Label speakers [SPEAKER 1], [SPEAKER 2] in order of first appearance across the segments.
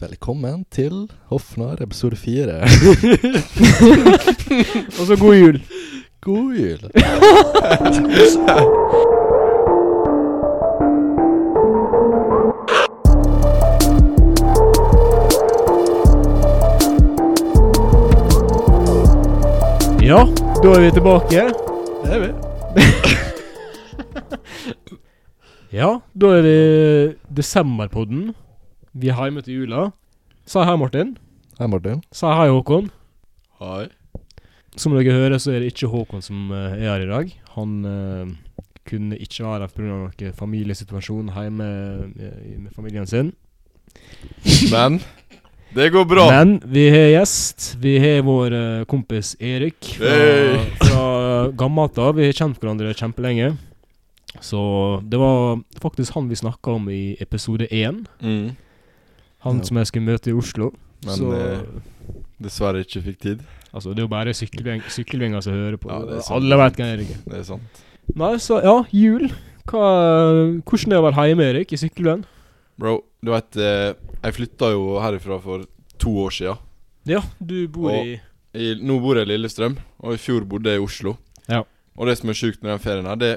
[SPEAKER 1] Velkommen til Hofnar episode fire.
[SPEAKER 2] Og så god jul.
[SPEAKER 1] God jul!
[SPEAKER 2] Ja, da er vi tilbake.
[SPEAKER 1] Det er vi.
[SPEAKER 2] Ja, da er det desemberpodden. Vi er hjemme til jula. Si hei, Martin.
[SPEAKER 1] Hei, Martin.
[SPEAKER 2] Si hei, Håkon.
[SPEAKER 3] Hei.
[SPEAKER 2] Som dere hører, så er det ikke Håkon som eh, er her i dag. Han eh, kunne ikke være her pga. noen familiesituasjon hjemme eh, med familien sin.
[SPEAKER 3] Men det går bra.
[SPEAKER 2] Men vi har gjest. Vi har vår eh, kompis Erik fra,
[SPEAKER 3] Hey.
[SPEAKER 2] fra gammelt av. Vi har kjent hverandre kjempelenge. Så det var faktisk han vi snakka om i episode én.
[SPEAKER 3] Mm.
[SPEAKER 2] Han
[SPEAKER 1] Ja.
[SPEAKER 2] som jeg skulle møte i Oslo.
[SPEAKER 3] Men
[SPEAKER 2] så
[SPEAKER 3] eh, dessverre ikke fikk tid.
[SPEAKER 2] altså, det er jo bare sykkelgjeng- sykkelgjenger som hører på.
[SPEAKER 3] Ja, det er sant.
[SPEAKER 2] Alle veit hvem Erik er.
[SPEAKER 3] Det er sant.
[SPEAKER 2] Nei, så ja, jul. Hva, eh, hvordan er det å være hjemme, Erik, i sykkelveien?
[SPEAKER 3] Bro, du vet eh, Jeg flytta jo herifra for to år sia.
[SPEAKER 2] Ja, du bor
[SPEAKER 3] Og-
[SPEAKER 2] i
[SPEAKER 3] Nå bor jeg i Lillestrøm, og i fjor bodde jeg i Oslo.
[SPEAKER 2] Ja.
[SPEAKER 3] Og det som er sjukt med den ferien her, det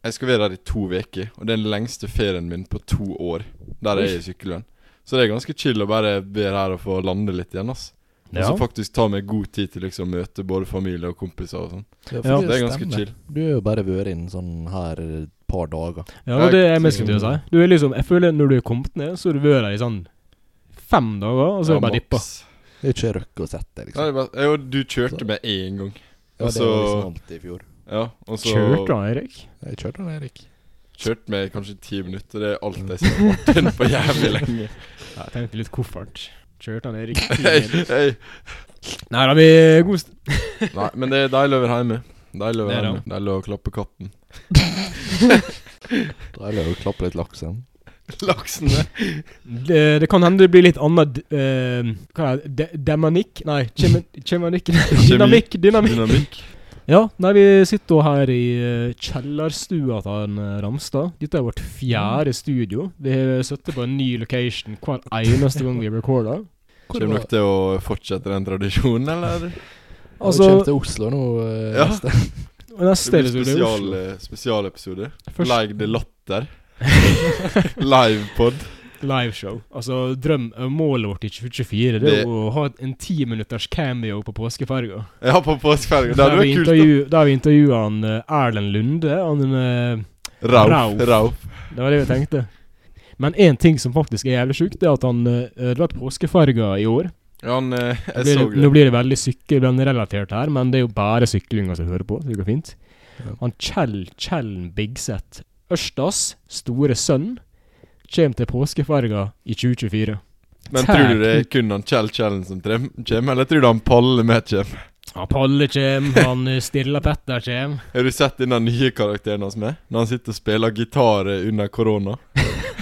[SPEAKER 3] jeg skal være der i to uker. Og det er den lengste ferien min på to år der jeg er i sykkellønn. Så det er ganske chill å bare være her og få lande litt igjen, ass. Og så faktisk ta meg god tid til liksom møte både familie og kompiser og sånn.
[SPEAKER 1] Ja, for
[SPEAKER 2] Ja.
[SPEAKER 3] Det er ganske
[SPEAKER 1] stemmer.
[SPEAKER 3] chill.
[SPEAKER 1] Du har jo bare vært inne sånn her et par dager.
[SPEAKER 2] Ja, det var det jeg mest skulle til å si.
[SPEAKER 3] altså.
[SPEAKER 2] Du er liksom, jeg føler Når du er kommet ned, så har du vært her i sånn fem dager, og så er det bare
[SPEAKER 3] Ja,
[SPEAKER 2] dippa.
[SPEAKER 3] maks.
[SPEAKER 1] Det er ikke røkk å sette,
[SPEAKER 3] Nei,
[SPEAKER 1] liksom.
[SPEAKER 3] det er bare, jo, du
[SPEAKER 1] Så-
[SPEAKER 3] kjørte med én gang.
[SPEAKER 1] Ja, det var
[SPEAKER 3] altså-
[SPEAKER 1] liksom alt i fjor.
[SPEAKER 3] Ja, og så
[SPEAKER 2] Kjørte han, Erik?
[SPEAKER 1] Jeg kjørte den, Erik.
[SPEAKER 3] kjørte med kanskje ti minutter. Det er alt jeg ser om Martin på jævlig lenge.
[SPEAKER 2] Ja, jeg tenkte litt koffert. Kjørte han, Erik?
[SPEAKER 3] Hei, hei.
[SPEAKER 2] Nei da, vi er gode st
[SPEAKER 3] Nei, men det er deilig å være hjemme. Deilig å
[SPEAKER 2] Det
[SPEAKER 3] være
[SPEAKER 2] er
[SPEAKER 3] hjemme. Deilig å klappe katten.
[SPEAKER 1] Da er det jo å klappe litt laksen.
[SPEAKER 3] Laksen er
[SPEAKER 2] det, det kan hende det blir litt annen uh, Hva er det? De demanikk? Nei, kjemi- kjemanikk Dynamikk, dynamikk.
[SPEAKER 3] dynamikk.
[SPEAKER 2] Ja, nei, vi sitter jo her i eh, kjellerstua til han, eh, Ramstad. Dette er vårt fjerde studio. Vi har sittet på en ny location hver eneste gang vi recorder.
[SPEAKER 1] Hvor
[SPEAKER 3] Kommer
[SPEAKER 1] var
[SPEAKER 3] dere til å fortsette den tradisjonen, eller?
[SPEAKER 1] altså,
[SPEAKER 2] Altså,
[SPEAKER 1] Kommer til Oslo nå. eh,
[SPEAKER 3] Ja.
[SPEAKER 1] neste.
[SPEAKER 2] neste
[SPEAKER 3] Det
[SPEAKER 2] episode er
[SPEAKER 3] blir spesial,
[SPEAKER 2] Oslo.
[SPEAKER 3] eh, spesialepisode.
[SPEAKER 2] Først-
[SPEAKER 3] Like the latter. Livepod.
[SPEAKER 2] Liveshow. Altså, drøm, eh, målet vårt i 2024 det er
[SPEAKER 3] Det-
[SPEAKER 2] å ha et- en ti-minutters cameo på påskeferga.
[SPEAKER 3] Ja, på påskeferga. Det
[SPEAKER 2] Der vi
[SPEAKER 3] hadde vært kult.
[SPEAKER 2] intervju- der vi intervjua han eh, Erlend Lunde. Han eh,
[SPEAKER 3] da. Rauf.
[SPEAKER 2] Rauf.
[SPEAKER 3] Rauf.
[SPEAKER 2] Det var det vi tenkte. Men én ting som faktisk er jævlig sjukt, det er at han eh, Det var påskeferga i år.
[SPEAKER 3] Ja, han
[SPEAKER 2] Nå
[SPEAKER 3] eh, Jeg
[SPEAKER 2] blir,
[SPEAKER 3] så
[SPEAKER 2] det, nå
[SPEAKER 3] det.
[SPEAKER 2] blir det veldig sykkelbrannrelatert her, men det er jo bare syklinger som hører på. så Det går fint.
[SPEAKER 1] Ja.
[SPEAKER 2] Han Kjell Kjellen Bigseth Ørstas store sønn kommer til påskeferga i 2024.
[SPEAKER 3] Men tror du det er kun han Kjell Kjellen som kommer, eller tror du han Palle med kommer?
[SPEAKER 2] Ja, Palle kjem, han eh, Stilla Petter kjem.
[SPEAKER 3] Har du sett den nye karakteren hans med? Når han sitter og spiller gitar under korona.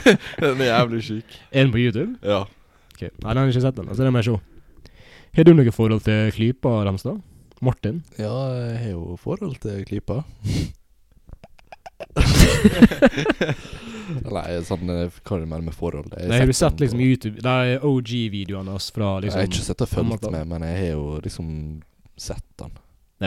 [SPEAKER 3] den er jævlig syk.
[SPEAKER 2] Er den på YouTube?
[SPEAKER 3] Ja.
[SPEAKER 2] Ok, Nei, den har jeg ikke sett den. Altså, den må jeg se. Har du noe forhold til Klypa, Ramstad? Martin?
[SPEAKER 1] Ja, jeg har jo forhold til klypa. Nei, sånn eh, Hva er det mer med forhold? Jeg
[SPEAKER 2] Nei, har du
[SPEAKER 1] den
[SPEAKER 2] sett liksom
[SPEAKER 1] på-
[SPEAKER 2] YouTube De OG-videoene hans fra
[SPEAKER 1] Jeg har ikke
[SPEAKER 2] liksom
[SPEAKER 1] sett og fulgt
[SPEAKER 2] gammelt, da.
[SPEAKER 1] med, men jeg har jo liksom sett den.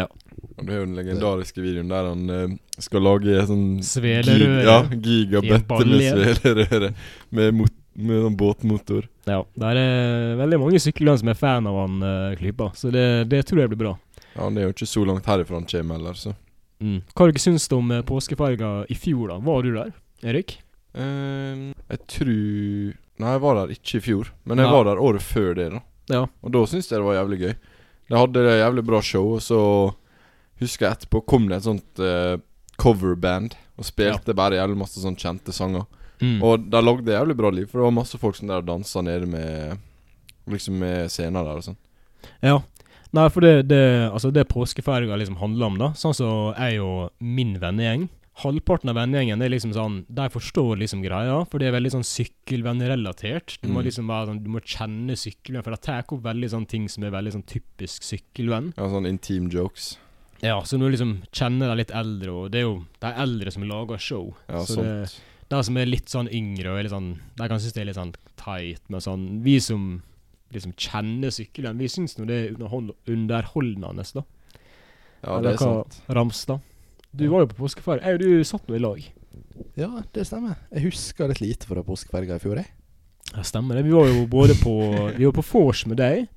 [SPEAKER 3] Og det er jo den legendariske videoen der han eh, skal lage sånn
[SPEAKER 2] Svelerøre?
[SPEAKER 3] gig- Ja,
[SPEAKER 2] I en
[SPEAKER 3] gigabøtte med
[SPEAKER 2] balje.
[SPEAKER 3] svelerøre. Med, mot, med sånn båtmotor.
[SPEAKER 2] Ja. Der er veldig mange sykkelland som er fan av han eh, Klypa, så det, det tror jeg blir bra.
[SPEAKER 3] Ja, Han er jo ikke så langt herifra han kommer heller, så
[SPEAKER 2] Mm. Hva dere syns dere om eh, påskeferga i fjor, da? Var du der, Erik?
[SPEAKER 3] Eh, Jeg tror Nei, jeg var der ikke i fjor, men jeg
[SPEAKER 2] Nei.
[SPEAKER 3] var der året før det, da.
[SPEAKER 2] Ja.
[SPEAKER 3] Og da syntes jeg det var jævlig gøy. De hadde det jævlig bra show, og så husker jeg etterpå kom det et sånt eh, coverband og spilte bare jævlig masse sånn kjente sanger.
[SPEAKER 2] Mm.
[SPEAKER 3] Og de lagde jævlig bra liv, for det var masse folk som der dansa nede med Liksom med scener der og sånn.
[SPEAKER 2] Ja. Nei, for det, det, altså det påskeferga liksom handler om, da. Sånn som så jeg og min vennegjeng. Halvparten av vennegjengen er liksom sånn De forstår liksom greia, for det er veldig sånn sykkelvennrelatert. Du må
[SPEAKER 3] Mm.
[SPEAKER 2] liksom være sånn Du må kjenne sykkelvenn, for de tar opp veldig sånn ting som er veldig sånn typisk sykkelvenn.
[SPEAKER 3] Ja, sånn intim jokes.
[SPEAKER 2] Ja, så når du liksom kjenner de litt eldre, og det er jo de eldre som lager show.
[SPEAKER 3] Ja, sånn.
[SPEAKER 2] så
[SPEAKER 3] sånt.
[SPEAKER 2] det, De som er litt sånn yngre og er litt sånn De kan synes det er litt sånn teit, men sånn Vi som liksom kjenner sykkelen, vi syns nå det er underhold- underholdende, da.
[SPEAKER 3] Ja,
[SPEAKER 2] Eller
[SPEAKER 3] det er
[SPEAKER 2] hva-
[SPEAKER 3] sant.
[SPEAKER 2] Ramstad. Du
[SPEAKER 1] Ja.
[SPEAKER 2] var jo på påskeferie. Jeg og du satt nå i lag.
[SPEAKER 1] Ja, det stemmer. Jeg husker litt lite fra påskeferga i fjor, jeg.
[SPEAKER 2] Ja, stemmer det. Vi var jo både på Vi var på vors med deg,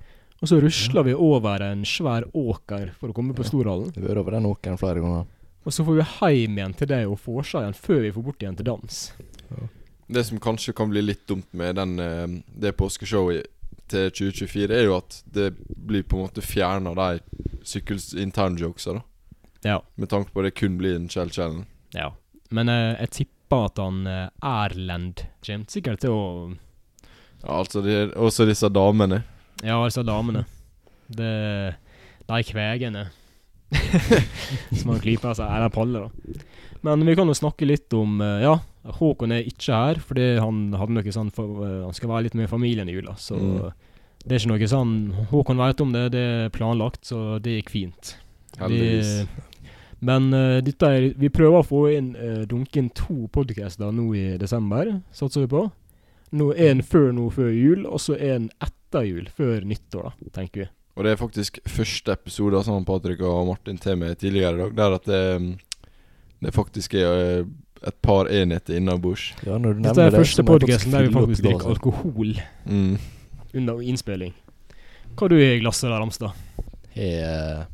[SPEAKER 2] og så rusla vi over en svær åker for å komme på
[SPEAKER 1] Ja.
[SPEAKER 2] Storhallen.
[SPEAKER 1] Jeg har vært over den åkeren flere ganger.
[SPEAKER 2] Og så får vi hjem igjen til deg og vorsa igjen før vi får bort igjen til dans.
[SPEAKER 3] Det som kanskje kan bli litt dumt med den, eh, det påskeshowet i- til 2024, er jo at det blir på en måte fjerna de sykkels internjokesa, da.
[SPEAKER 2] Ja.
[SPEAKER 3] Med tanke på det kun blir en Shell Challenge.
[SPEAKER 2] ja. Men eh, jeg tipper at han eh, Erlend kommer sikkert til å
[SPEAKER 3] Ja, altså de, også disse damene.
[SPEAKER 2] Ja, altså damene. Det De kvegene. Som han klyper altså, seg. Eller paller, da. Men vi kan jo snakke litt om eh, Ja, Håkon er ikke her, fordi han hadde noe sånn for, eh, Han skal være litt med familien i jula, så
[SPEAKER 3] Mm.
[SPEAKER 2] det er ikke noe sånn Håkon vet om det, det er planlagt, så det gikk fint.
[SPEAKER 3] Heldigvis.
[SPEAKER 2] Vi, men eh, dette er, vi prøver å få inn eh, dunke inn to podcaster nå i desember, satser vi på. Nå En før nå før jul, og så en etter jul, før nyttår, da, tenker vi.
[SPEAKER 3] Og det er faktisk første episode av sammen Patrick og Martin til meg tidligere i dag, der at det, mm, det faktisk er eh, et par enheter innabords.
[SPEAKER 1] Ja, når du
[SPEAKER 2] Dette
[SPEAKER 1] nevner
[SPEAKER 2] er
[SPEAKER 1] det, så
[SPEAKER 2] første
[SPEAKER 1] må jeg
[SPEAKER 2] podcasten der vi
[SPEAKER 1] fylle opp
[SPEAKER 2] faktisk drikker
[SPEAKER 1] glasset.
[SPEAKER 2] alkohol
[SPEAKER 3] Mm.
[SPEAKER 2] under innspilling. Hva har du i glasset der, Ramstad?
[SPEAKER 1] er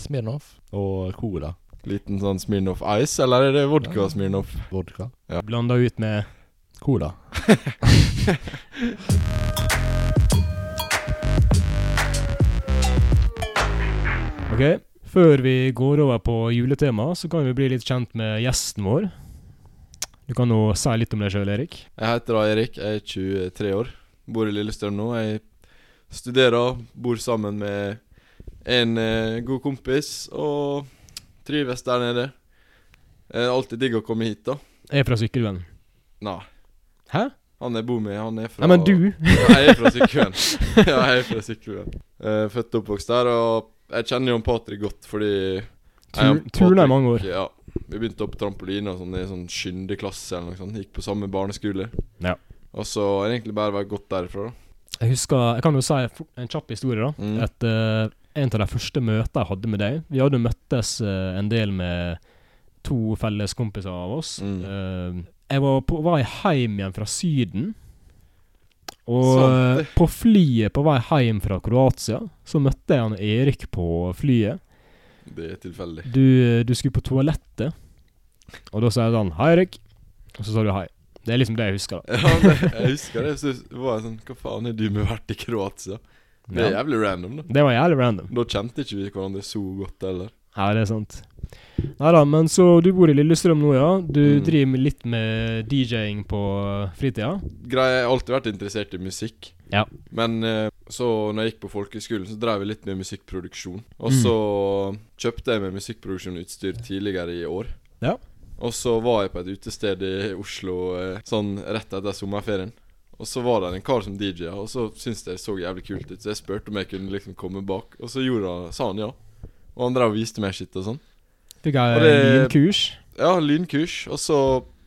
[SPEAKER 1] Smirnoff og Cola.
[SPEAKER 3] Liten sånn Smirnoff Ice, eller er det vodka
[SPEAKER 1] Ja.
[SPEAKER 3] Smirnoff?
[SPEAKER 1] Vodka.
[SPEAKER 2] Blanda ut med
[SPEAKER 1] Cola.
[SPEAKER 2] Ok, før vi går over på juletema, så kan vi bli litt kjent med gjesten vår. Du kan jo si litt om deg sjøl, Erik.
[SPEAKER 3] Jeg heter da Erik, jeg er 23 år. Bor i Lillestrøm nå. Jeg studerer, bor sammen med en eh, god kompis og trives der nede. Det er alltid digg å komme hit, da.
[SPEAKER 2] Jeg er fra Sykkylven.
[SPEAKER 3] Nei,
[SPEAKER 2] Hæ?
[SPEAKER 3] han jeg bor med, han er fra
[SPEAKER 2] Nei, men du?
[SPEAKER 3] Ja, jeg er fra Sykkylven. ja, jeg er fra Sykkylven. Eh, født og oppvokst der, og jeg kjenner jo Patrick godt fordi jeg
[SPEAKER 2] Tur,
[SPEAKER 3] og
[SPEAKER 2] turna i
[SPEAKER 3] Patrick-
[SPEAKER 2] mange år.
[SPEAKER 3] Ja. Vi begynte opp trampoline og sånn i sånn skyndeklasse eller noe sånt. Gikk på samme barneskole.
[SPEAKER 2] Ja.
[SPEAKER 3] Og så har det egentlig bare vært godt derifra, da.
[SPEAKER 2] Jeg husker, jeg kan jo si for- en kjapp historie, da.
[SPEAKER 3] Mm.
[SPEAKER 2] Et, eh, en av de første møtene jeg hadde med deg Vi hadde møttes eh, en del med to felles kompiser av oss.
[SPEAKER 3] Mm.
[SPEAKER 2] Eh, jeg var på vei hjem igjen fra Syden. Og
[SPEAKER 3] Sant
[SPEAKER 2] eh, på flyet på vei hjem fra Kroatia, så møtte jeg han Erik på flyet.
[SPEAKER 3] Det er tilfeldig.
[SPEAKER 2] Du, du skulle på toalettet, og da sa jeg sånn Hei, Erik. Og så sa du hei. Det er liksom det jeg husker. da.
[SPEAKER 3] Ja, men jeg husker det. Så var jeg sånn Hva faen er du med vært i Kroatia? Det er
[SPEAKER 2] Ja.
[SPEAKER 3] jævlig random, da.
[SPEAKER 2] Det var jævlig random.
[SPEAKER 3] Da kjente ikke vi hverandre så godt heller.
[SPEAKER 2] Ja, det er sant. Nei da, men så du bor i Lillestrøm nå, ja. Du
[SPEAKER 3] Mm.
[SPEAKER 2] driver med litt med DJ-ing på fritida.
[SPEAKER 3] Greia, jeg har alltid vært interessert i musikk.
[SPEAKER 2] Ja.
[SPEAKER 3] Men eh, så når jeg gikk på folkehøyskolen, så drev jeg litt med musikkproduksjon. Og
[SPEAKER 2] Mm.
[SPEAKER 3] så kjøpte jeg meg musikkproduksjonsutstyr tidligere i år.
[SPEAKER 2] Ja.
[SPEAKER 3] Og så var jeg på et utested i Oslo eh, sånn rett etter sommerferien. Og så var det en kar som DJ-a, og så syntes jeg det så jævlig kult ut. Så jeg spurte om jeg kunne liksom komme bak, og så gjorde han, sa han ja. Og han drev og viste meg shit og sånn.
[SPEAKER 2] Fikk
[SPEAKER 3] Og
[SPEAKER 2] jeg
[SPEAKER 3] det-
[SPEAKER 2] lynkurs.
[SPEAKER 3] Ja, lynkurs, og så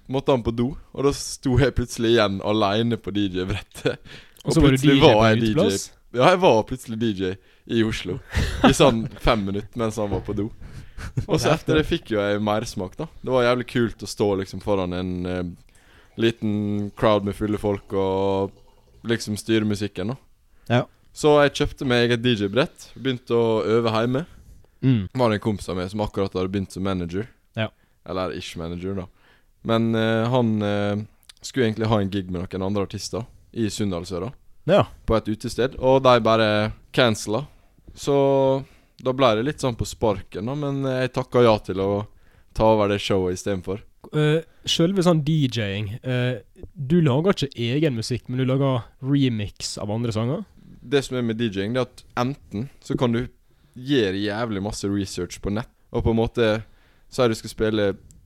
[SPEAKER 3] måtte han på do, og da sto jeg plutselig igjen aleine på DJ-brettet.
[SPEAKER 2] Og så var du
[SPEAKER 3] plutselig
[SPEAKER 2] DJ på en uteplass.
[SPEAKER 3] Ja, jeg var plutselig DJ i Oslo i sånn fem minutter mens han var på do. Og så etter det fikk jo jeg mersmak, da. Det var jævlig kult å stå liksom foran en eh, liten crowd med fulle folk og liksom styre musikken, da.
[SPEAKER 2] Ja.
[SPEAKER 3] Så jeg kjøpte meg eget DJ-brett, begynte å øve hjemme
[SPEAKER 2] Mm.
[SPEAKER 3] var det en kompis av meg som akkurat hadde begynt som manager.
[SPEAKER 2] Ja.
[SPEAKER 3] Eller ish manager, da. Men eh, han eh, skulle egentlig ha en gig med noen andre artister i Sunndalsøra,
[SPEAKER 2] Ja.
[SPEAKER 3] på et utested, og de bare cancela. Så da ble det litt sånn på sparken, da, men eh, jeg takka ja til å ta over det showet istedenfor.
[SPEAKER 2] Uh, Sjølve sånn DJ-ing eh, Du lager ikke egen musikk, men du lager remix av andre sanger?
[SPEAKER 3] Det som er med DJ-ing, det er at enten så kan du gjøre jævlig masse research på nett, og på en måte Si du skal spille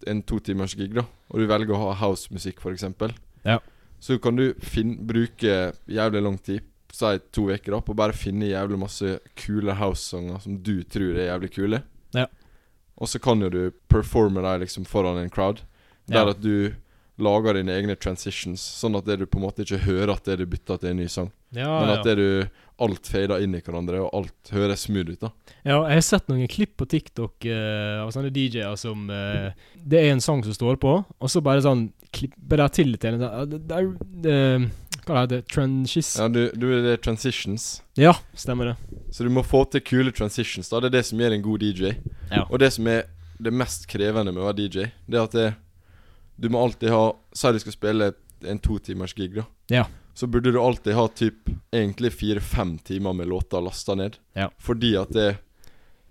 [SPEAKER 3] en to timers gig, da, og du velger å ha housemusikk, for eksempel.
[SPEAKER 2] Ja.
[SPEAKER 3] Så kan du finn, bruke jævlig lang tid, si to uker, da, på å bare finne jævlig masse kule house-sanger som du tror er jævlig kule.
[SPEAKER 2] Ja.
[SPEAKER 3] Og så kan jo du performe deg liksom foran en crowd, der
[SPEAKER 2] Ja.
[SPEAKER 3] at du lager dine egne transitions, sånn at det du på en måte ikke hører at det du bytter til en ny sang.
[SPEAKER 2] Ja,
[SPEAKER 3] Men
[SPEAKER 2] ja.
[SPEAKER 3] at det du alt fader inn i hverandre, og alt høres smooth ut. da
[SPEAKER 2] Ja, jeg har sett noen klipp på TikTok eh, av sånne DJ-er som eh, Det er en sang som står på, og så bare sånn klipper de til til en sånn eh, det er, eh, Hva heter det? Trenches? Ja.
[SPEAKER 3] Ja, du, du Det er transitions.
[SPEAKER 2] stemmer det.
[SPEAKER 3] Så du må få til kule transitions. da Det er det som gjør en god DJ.
[SPEAKER 2] Ja.
[SPEAKER 3] Og det som er det mest krevende med å være DJ, det er at det, du må alltid ha Si du skal spille en to timers gig, da.
[SPEAKER 2] Ja.
[SPEAKER 3] Så burde du alltid ha typ egentlig fire-fem timer med låter lasta ned.
[SPEAKER 2] Ja.
[SPEAKER 3] Fordi at det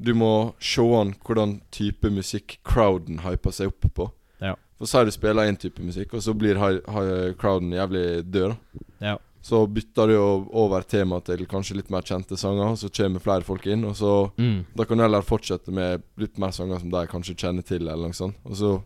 [SPEAKER 3] Du må se an hvordan type musikk crowden hyper seg opp på.
[SPEAKER 2] Ja.
[SPEAKER 3] For si du spiller én type musikk, og så blir hi hi crowden jævlig død, da.
[SPEAKER 2] Ja.
[SPEAKER 3] Så bytter du jo over tema til kanskje litt mer kjente sanger, og så kommer flere folk inn, og så
[SPEAKER 2] Mm.
[SPEAKER 3] da kan du heller fortsette med litt mer sanger som de kanskje kjenner til. eller noe sånt. Og så,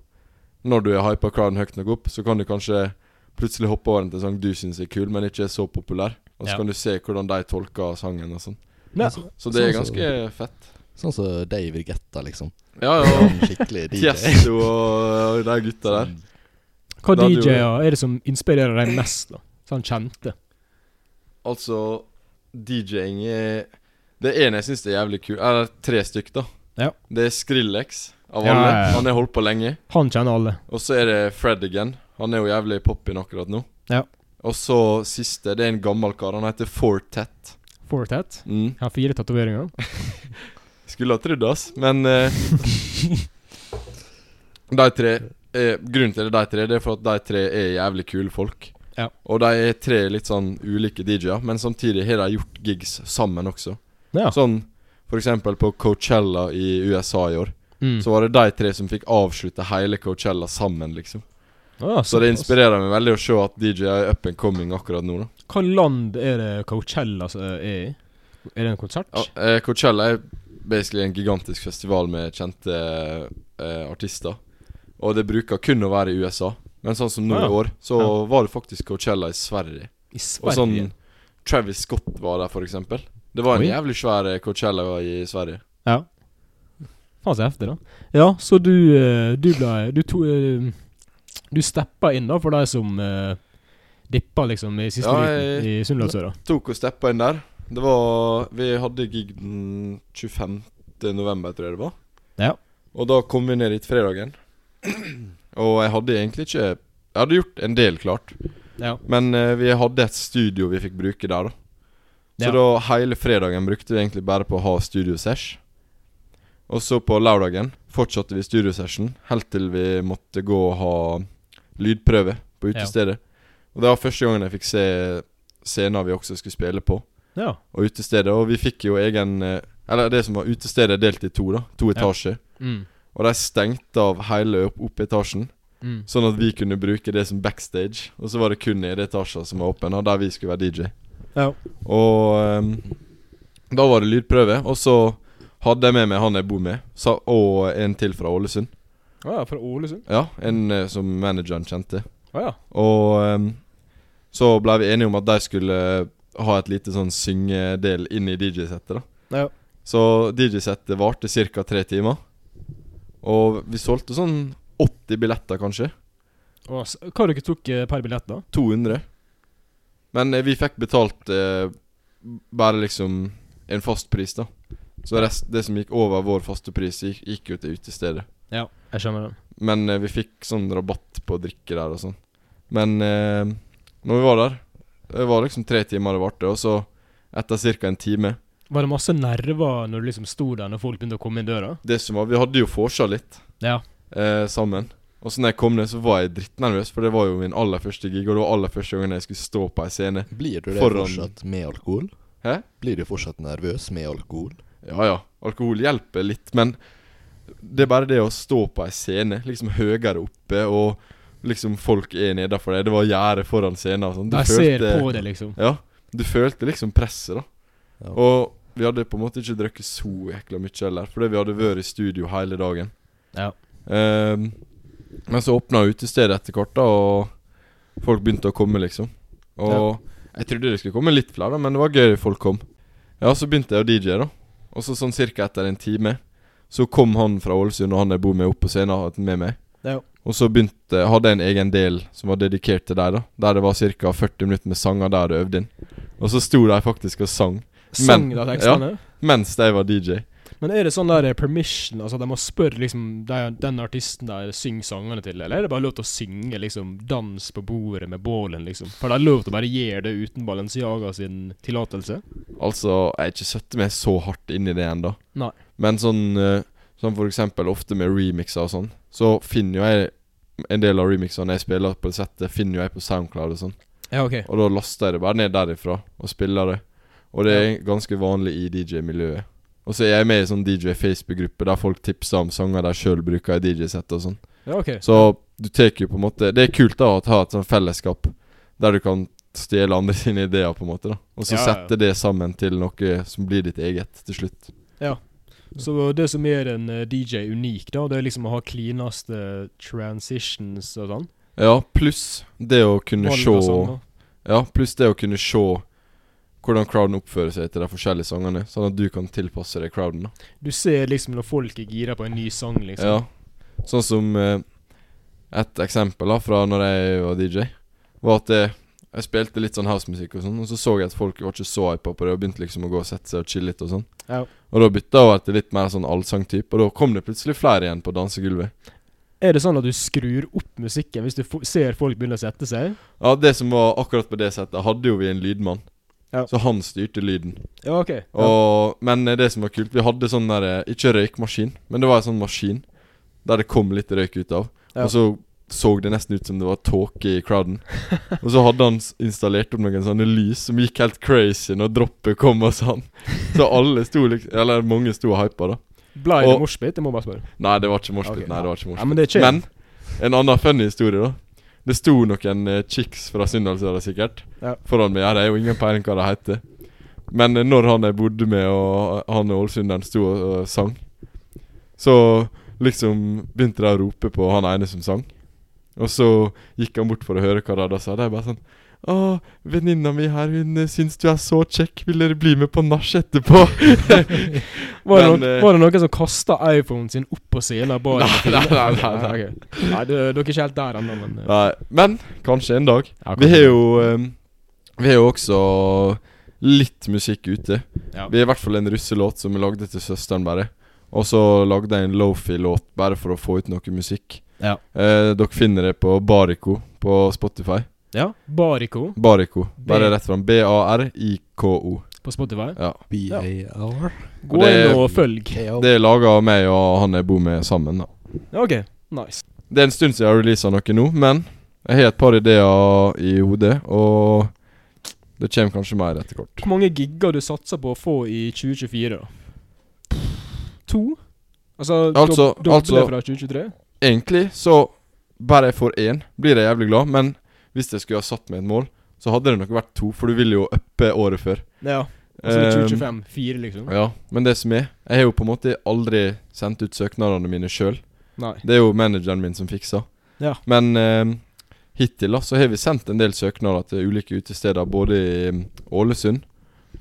[SPEAKER 3] når du er hypa crowden høyt nok opp, så kan du kanskje plutselig hoppe over til en sang du syns er kul, men ikke er så populær. Og så
[SPEAKER 2] Ja.
[SPEAKER 3] kan du se hvordan de tolker sangen og sånn.
[SPEAKER 2] Ja.
[SPEAKER 3] Så det er
[SPEAKER 1] Sånn som-
[SPEAKER 3] ganske fett.
[SPEAKER 1] Sånn som David Guetta, liksom.
[SPEAKER 3] Ja, ja.
[SPEAKER 1] En skikkelig DJ.
[SPEAKER 3] Tiesto og de gutta der.
[SPEAKER 2] Hva
[SPEAKER 3] Da hadde jo-
[SPEAKER 2] DJ-er er det som inspirerer deg mest, da? Sånn kjente?
[SPEAKER 3] Altså, DJ-ing er Det er en jeg syns er jævlig kul. Eller tre stykk, da.
[SPEAKER 2] Ja.
[SPEAKER 3] Det er Skrillex av
[SPEAKER 2] Ja,
[SPEAKER 3] alle.
[SPEAKER 2] ja, ja.
[SPEAKER 3] Han har holdt på lenge.
[SPEAKER 2] Han kjenner alle.
[SPEAKER 3] Og så er det Fred again. Han er jo jævlig poppin akkurat nå.
[SPEAKER 2] Ja.
[SPEAKER 3] Og så siste, det er en gammel kar. Han heter Fortet.
[SPEAKER 2] Fortet.
[SPEAKER 3] Mm.
[SPEAKER 2] Har fire tatoveringer.
[SPEAKER 3] Skulle ha trodd, ass, men eh, De tre eh, Grunnen til det er de tre, det er for at de tre er jævlig kule folk.
[SPEAKER 2] Ja.
[SPEAKER 3] Og de er tre litt sånn ulike DJ-er, men samtidig har de gjort gigs sammen også.
[SPEAKER 2] Ja.
[SPEAKER 3] Sånn for eksempel på Coachella i USA i år.
[SPEAKER 2] Mm.
[SPEAKER 3] Så var det de tre som fikk avslutte hele Coachella sammen, liksom.
[SPEAKER 2] Ah,
[SPEAKER 3] Så det
[SPEAKER 2] såpass.
[SPEAKER 3] inspirerer meg veldig å se at DJ er up and coming akkurat nå. da
[SPEAKER 2] Hva land er det Coachella som er i? Er det en konsert?
[SPEAKER 3] Ja, eh, Coachella er basically en gigantisk festival med kjente eh, artister. Og det bruker kun å være i USA. Men sånn som nå
[SPEAKER 2] Ah, ja.
[SPEAKER 3] i år, så
[SPEAKER 2] Ja.
[SPEAKER 3] var det faktisk Coachella i Sverige.
[SPEAKER 2] I
[SPEAKER 3] Og
[SPEAKER 2] Sverige?
[SPEAKER 3] sånn Travis Scott var der, for eksempel. Det var en
[SPEAKER 2] Oi.
[SPEAKER 3] jævlig svær eh, Coachella i Sverige.
[SPEAKER 2] Ja. Faen så heftig, da. Ja, så du eh, Du ble Du to eh, Du steppa inn, da, for de som eh, dippa, liksom, i siste
[SPEAKER 3] Ja,
[SPEAKER 2] liten i Sunnlandsøra.
[SPEAKER 3] Tok og steppa inn der. Det var Vi hadde gig den 25. november, tror jeg det var.
[SPEAKER 2] Ja.
[SPEAKER 3] Og da kom vi ned dit fredagen. Og jeg hadde egentlig ikke Jeg hadde gjort en del klart.
[SPEAKER 2] Ja.
[SPEAKER 3] Men eh, vi hadde et studio vi fikk bruke der, da. Så
[SPEAKER 2] Ja.
[SPEAKER 3] da hele fredagen brukte vi egentlig bare på å ha studiosesh. Og så på lørdagen fortsatte vi studiosession helt til vi måtte gå og ha lydprøve på
[SPEAKER 2] Ja.
[SPEAKER 3] utestedet. Og det var første gangen jeg fikk se scener vi også skulle spille på,
[SPEAKER 2] ja.
[SPEAKER 3] og utestedet. Og vi fikk jo egen eh, Eller det som var utestedet, er delt i to, da. To
[SPEAKER 2] Ja.
[SPEAKER 3] etasjer.
[SPEAKER 2] Mm.
[SPEAKER 3] Og de stengte av hele opp, opp etasjen.
[SPEAKER 2] Mm.
[SPEAKER 3] Sånn at vi kunne bruke det som backstage. Og så var det kun nede i etasjen som var åpen, og der vi skulle være DJ.
[SPEAKER 2] Ja.
[SPEAKER 3] Og ehm, da var det lydprøve, og så hadde jeg med meg han jeg bor med, sa, og en til fra Ålesund.
[SPEAKER 2] Å Ah, ja, fra Ålesund?
[SPEAKER 3] Ja, en eh, som manageren kjente.
[SPEAKER 2] Å ja.
[SPEAKER 3] Og ehm, så ble vi enige om at de skulle eh, ha et lite sånn syngedel inn i DJ-settet, da.
[SPEAKER 2] Ja.
[SPEAKER 3] Så DJ-settet varte ca. tre timer. Og vi solgte sånn 80 billetter, kanskje.
[SPEAKER 2] Å, s- hva dere tok eh, per billett, da?
[SPEAKER 3] 200. Men eh, vi fikk betalt eh, bare liksom en fast pris, da. Så rest, det som gikk over vår faste pris, gikk, gikk jo til utestedet.
[SPEAKER 2] Ja, jeg skjønner den.
[SPEAKER 3] Men eh, vi fikk sånn rabatt på å drikke der og sånn. Men eh, når vi var der Det var liksom tre timer det varte, og så, etter ca. en time
[SPEAKER 2] Var det masse nerver når du liksom sto der, når folk begynte å komme inn døra?
[SPEAKER 3] Det som var Vi hadde jo vorsa litt
[SPEAKER 2] Ja.
[SPEAKER 3] eh, sammen. Og så når jeg kom ned, så var jeg drittnervøs, for det var jo min aller første gig, og det var aller første gangen jeg skulle stå på ei scene.
[SPEAKER 1] Blir du det
[SPEAKER 3] Foran-
[SPEAKER 1] fortsatt med alkohol?
[SPEAKER 3] Hæ?
[SPEAKER 1] Blir du fortsatt nervøs med alkohol?
[SPEAKER 3] Ja ja, alkohol hjelper litt, men det er bare det å stå på ei scene, liksom høyere oppe, og liksom folk er nedafor deg. Det var gjerde foran scenen og sånn. Du
[SPEAKER 2] De ser på det, liksom.
[SPEAKER 3] Ja. Du følte liksom presset, da.
[SPEAKER 1] Ja.
[SPEAKER 3] Og vi hadde på en måte ikke drukket så jækla mye heller, fordi vi hadde vært i studio hele dagen.
[SPEAKER 2] Ja.
[SPEAKER 3] Ehm, men så åpna utestedet etter hvert, da, og folk begynte å komme, liksom. Og jeg trodde det skulle komme litt flere, da, men det var gøy folk kom. Ja, så begynte jeg å DJ, da. Og så sånn cirka etter en time så kom han fra Ålesund, og han jeg bor med, opp på scenen med meg.
[SPEAKER 2] Ja.
[SPEAKER 3] Og så begynte, hadde jeg en egen del som var dedikert til deg, da. Der det var ca. 40 minutter med sanger der du øvde inn. Og så sto de faktisk og sang
[SPEAKER 2] Sang
[SPEAKER 3] Men-
[SPEAKER 2] da tekstene?
[SPEAKER 3] mens de var DJ.
[SPEAKER 2] Men er det sånn der eh, permission, altså de må spørre liksom de, den artisten der synger sangene til, eller er det bare lov til å synge liksom dans på bordet med bålen, liksom? For det er lov til å bare gjøre det uten Balenciaga sin tillatelse?
[SPEAKER 3] Altså, jeg har ikke satt meg så hardt inn i det ennå.
[SPEAKER 2] Nei.
[SPEAKER 3] Men sånn eh, Som for eksempel ofte med remixer og sånn, så finner jo jeg en del av remixene jeg spiller på det settet, finner jo jeg på SoundCloud og sånn.
[SPEAKER 2] Ja, ok.
[SPEAKER 3] Og da laster jeg det bare ned derifra og spiller det. Og det er ganske vanlig i DJ-miljøet. Og så er jeg med i sånn DJ Facebook-gruppe der folk tipser om sanger de sjøl bruker i DJ-sett og sånn.
[SPEAKER 2] Ja, ok.
[SPEAKER 3] Så du tar jo på en måte Det er kult da å ha et sånn fellesskap der du kan stjele andre sine ideer, på en måte. da Og så
[SPEAKER 2] Ja, ja, ja.
[SPEAKER 3] sette det sammen til noe som blir ditt eget til slutt.
[SPEAKER 2] Så det som gjør en eh, DJ unik, da, det er liksom å ha cleanaste transitions og sånn.
[SPEAKER 3] Ja, pluss det å kunne
[SPEAKER 2] Valg
[SPEAKER 3] se
[SPEAKER 2] av sang, da.
[SPEAKER 3] Ja, pluss det å kunne se hvordan crowden oppfører seg til de forskjellige sangene, sånn at du kan tilpasse deg crowden. da
[SPEAKER 2] Du ser liksom når folk er gira på en ny sang, liksom.
[SPEAKER 3] Ja. Sånn som eh, et eksempel da fra når jeg var DJ, var at jeg, jeg spilte litt sånn housemusikk og sånn, og så så jeg at folk var ikke så hypa på det, og begynte liksom å gå og sette seg og chille litt og sånn.
[SPEAKER 2] Ja.
[SPEAKER 3] Og da bytta jeg over til litt mer sånn allsangtype, og da kom det plutselig flere igjen på dansegulvet.
[SPEAKER 2] Er det sånn at du skrur opp musikken hvis du fo ser folk begynne å sette seg?
[SPEAKER 3] Ja, det som var akkurat på det settet, hadde jo vi en lydmann,
[SPEAKER 2] Ja.
[SPEAKER 3] så han styrte lyden.
[SPEAKER 2] Ja, ok. Ja.
[SPEAKER 3] Og, Men eh, det som var kult Vi hadde sånn der eh, Ikke røykmaskin Men det var en sånn maskin Der det kom litt røyk ut av
[SPEAKER 2] Ja.
[SPEAKER 3] Og så så det nesten ut som det var tåke i crowden Og så hadde han s- installert opp noen sånne lys Som gikk helt crazy Når droppet kom og sånn Så alle sto liksom Eller mange sto og hypa da
[SPEAKER 2] Blei det
[SPEAKER 3] og-
[SPEAKER 2] moshpit? Jeg må bare spørre.
[SPEAKER 3] Nei, det var ikke morsbit
[SPEAKER 2] Ok.
[SPEAKER 3] Nei, det var ikke
[SPEAKER 2] Ja,
[SPEAKER 3] morsbit
[SPEAKER 2] men det er chill.
[SPEAKER 3] Men En annen funny historie da Det sto noen eh, chicks fra Sunndalsøra sikkert
[SPEAKER 2] Ja.
[SPEAKER 3] Foran meg Jeg har jo ingen peiling hva det heter men eh, når han jeg bodde med, og eh, han og ålesunderen sto og, og sang, så liksom begynte de å rope på han ene som sang. Og så gikk han bort for å høre hva de hadde sa. De bare sånn Å, venninna mi her, hun eh, syns du er så kjekk, vil dere bli med på nach etterpå?
[SPEAKER 2] Var det,
[SPEAKER 3] Men,
[SPEAKER 2] noen,
[SPEAKER 3] eh,
[SPEAKER 2] var det noen som kasta iPhonen sin opp på scenen? av baren?
[SPEAKER 3] Nei, nei, nei, nei, nei.
[SPEAKER 2] ok. Nei, du, dere er ikke helt der ennå, men eh,
[SPEAKER 3] Nei, men kanskje en dag.
[SPEAKER 2] ja,
[SPEAKER 3] Vi
[SPEAKER 2] kanskje.
[SPEAKER 3] har jo eh, Vi har jo også litt musikk ute.
[SPEAKER 2] Ja.
[SPEAKER 3] Vi har i hvert fall en russelåt som vi lagde til søsteren, bare. Og så lagde jeg en lofi-låt bare for å få ut noe musikk.
[SPEAKER 2] Ja.
[SPEAKER 3] Eh, dere finner det på Bariko på Spotify.
[SPEAKER 2] ja. Bariko
[SPEAKER 3] Bariko.
[SPEAKER 2] B-
[SPEAKER 3] Bare rett fram. B-a-r-i-k-o.
[SPEAKER 2] på Spotify.
[SPEAKER 3] Ja.
[SPEAKER 1] BAR.
[SPEAKER 2] Gå
[SPEAKER 3] det-
[SPEAKER 2] inn og følg.
[SPEAKER 3] Det er laga av meg og han jeg bor med sammen. da
[SPEAKER 2] Ja, OK, nice.
[SPEAKER 3] Det er en stund siden jeg har releasa noe nå, men jeg har et par ideer i hodet, og det kommer kanskje mer etter kort.
[SPEAKER 2] Hvor mange gigger du satser på å få i 2024? da? To? Altså, dob-
[SPEAKER 3] Altså-
[SPEAKER 2] doble
[SPEAKER 3] altså-
[SPEAKER 2] fra 2023?
[SPEAKER 3] Egentlig så bare jeg får én, blir jeg jævlig glad, men hvis jeg skulle ha satt meg et mål, så hadde det nok vært to, for du vil jo uppe året før.
[SPEAKER 2] Ja. Altså i
[SPEAKER 3] Ehm,
[SPEAKER 2] 2025. Fire, liksom?
[SPEAKER 3] Ja, men det som er Jeg har jo på en måte aldri sendt ut søknadene mine sjøl.
[SPEAKER 2] Nei.
[SPEAKER 3] Det er jo manageren min som fikser.
[SPEAKER 2] Ja.
[SPEAKER 3] Men eh, hittil da så har vi sendt en del søknader til ulike utesteder, både i mm, Ålesund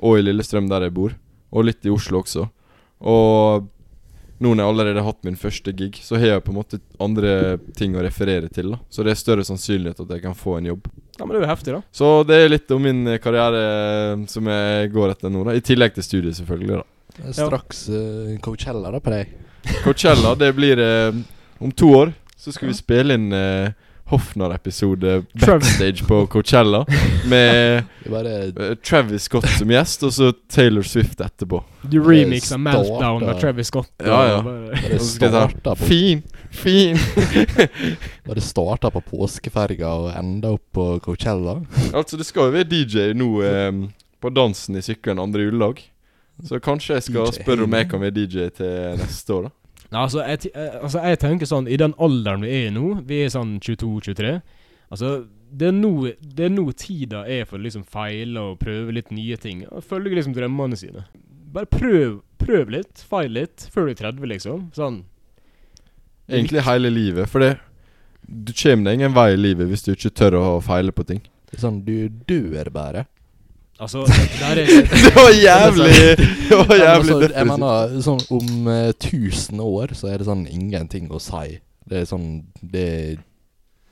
[SPEAKER 3] og i Lillestrøm, der jeg bor, og litt i Oslo også. Og nå når jeg allerede har hatt min første gig, så har jeg på en måte andre ting å referere til. da Så det er større sannsynlighet at jeg kan få en jobb.
[SPEAKER 2] Ja, men det er jo heftig, da.
[SPEAKER 3] Så det er litt om min eh, karriere eh, som jeg går etter nå, da. I tillegg til studiet, selvfølgelig. da
[SPEAKER 1] Straks eh, Coachella da på deg.
[SPEAKER 3] Coachella, det blir eh, Om to år så skal vi spille inn eh, Hofnar-episode
[SPEAKER 2] Trav-
[SPEAKER 3] backstage på Coachella. Med
[SPEAKER 1] Vi bare
[SPEAKER 3] eh, Travis Scott som gjest, og så Taylor Swift etterpå.
[SPEAKER 2] Du remixer
[SPEAKER 1] starter-
[SPEAKER 2] Meltdown av Travis Scott. og
[SPEAKER 3] Ja, ja.
[SPEAKER 2] bare-
[SPEAKER 1] Bare
[SPEAKER 3] Og så skal jeg
[SPEAKER 1] starta
[SPEAKER 3] ta
[SPEAKER 1] på,
[SPEAKER 3] Fin, fin!
[SPEAKER 1] bare starta på påskeferga og enda opp på Coachella.
[SPEAKER 3] Altså, det skal jo være DJ nå eh, på dansen i sykkelen andre juledag. Så kanskje jeg skal
[SPEAKER 1] DJ.
[SPEAKER 3] spørre om jeg kan være DJ til neste år, da.
[SPEAKER 2] Nei, altså, jeg, ti- eh, altså, jeg tenker sånn, i den alderen vi er i nå, vi er sånn 22-23 Altså, det er nå det er nå tida er for å liksom feile og prøve litt nye ting. og Følge liksom drømmene sine. Bare prøv, prøv litt, feil litt, før du er 30, liksom. Sånn.
[SPEAKER 3] Egentlig hele livet, for det du kommer deg ingen vei i livet hvis du ikke tør å feile på ting.
[SPEAKER 1] Det er sånn, du dør bare.
[SPEAKER 2] Altså, der er
[SPEAKER 3] Det var jævlig Det var
[SPEAKER 1] Men
[SPEAKER 3] jævlig
[SPEAKER 1] altså, Jeg
[SPEAKER 3] depressivt.
[SPEAKER 1] mener, sånn om eh, 1000 år så er det sånn ingenting å si. Det er sånn det er,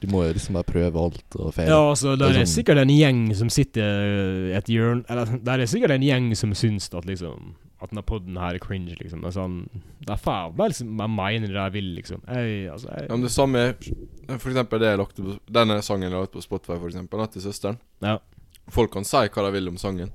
[SPEAKER 1] Du må jo liksom bare prøve alt og feire.
[SPEAKER 2] Ja, altså, der
[SPEAKER 1] Det er
[SPEAKER 2] er
[SPEAKER 1] sånn-
[SPEAKER 2] sikkert en gjeng som sitter i et hjørne Eller der er sikkert en gjeng som syns at liksom At denne podden her er cringe, liksom. Altså, han, det er faen meg liksom Jeg mener det jeg vil, liksom. Jeg, altså, jeg,
[SPEAKER 3] Ja, men det samme er For eksempel det jeg lagt på, denne sangen jeg la ut på Spotify, for eksempel, da, til søsteren.
[SPEAKER 2] Ja.
[SPEAKER 3] Folk kan si hva de vil om sangen,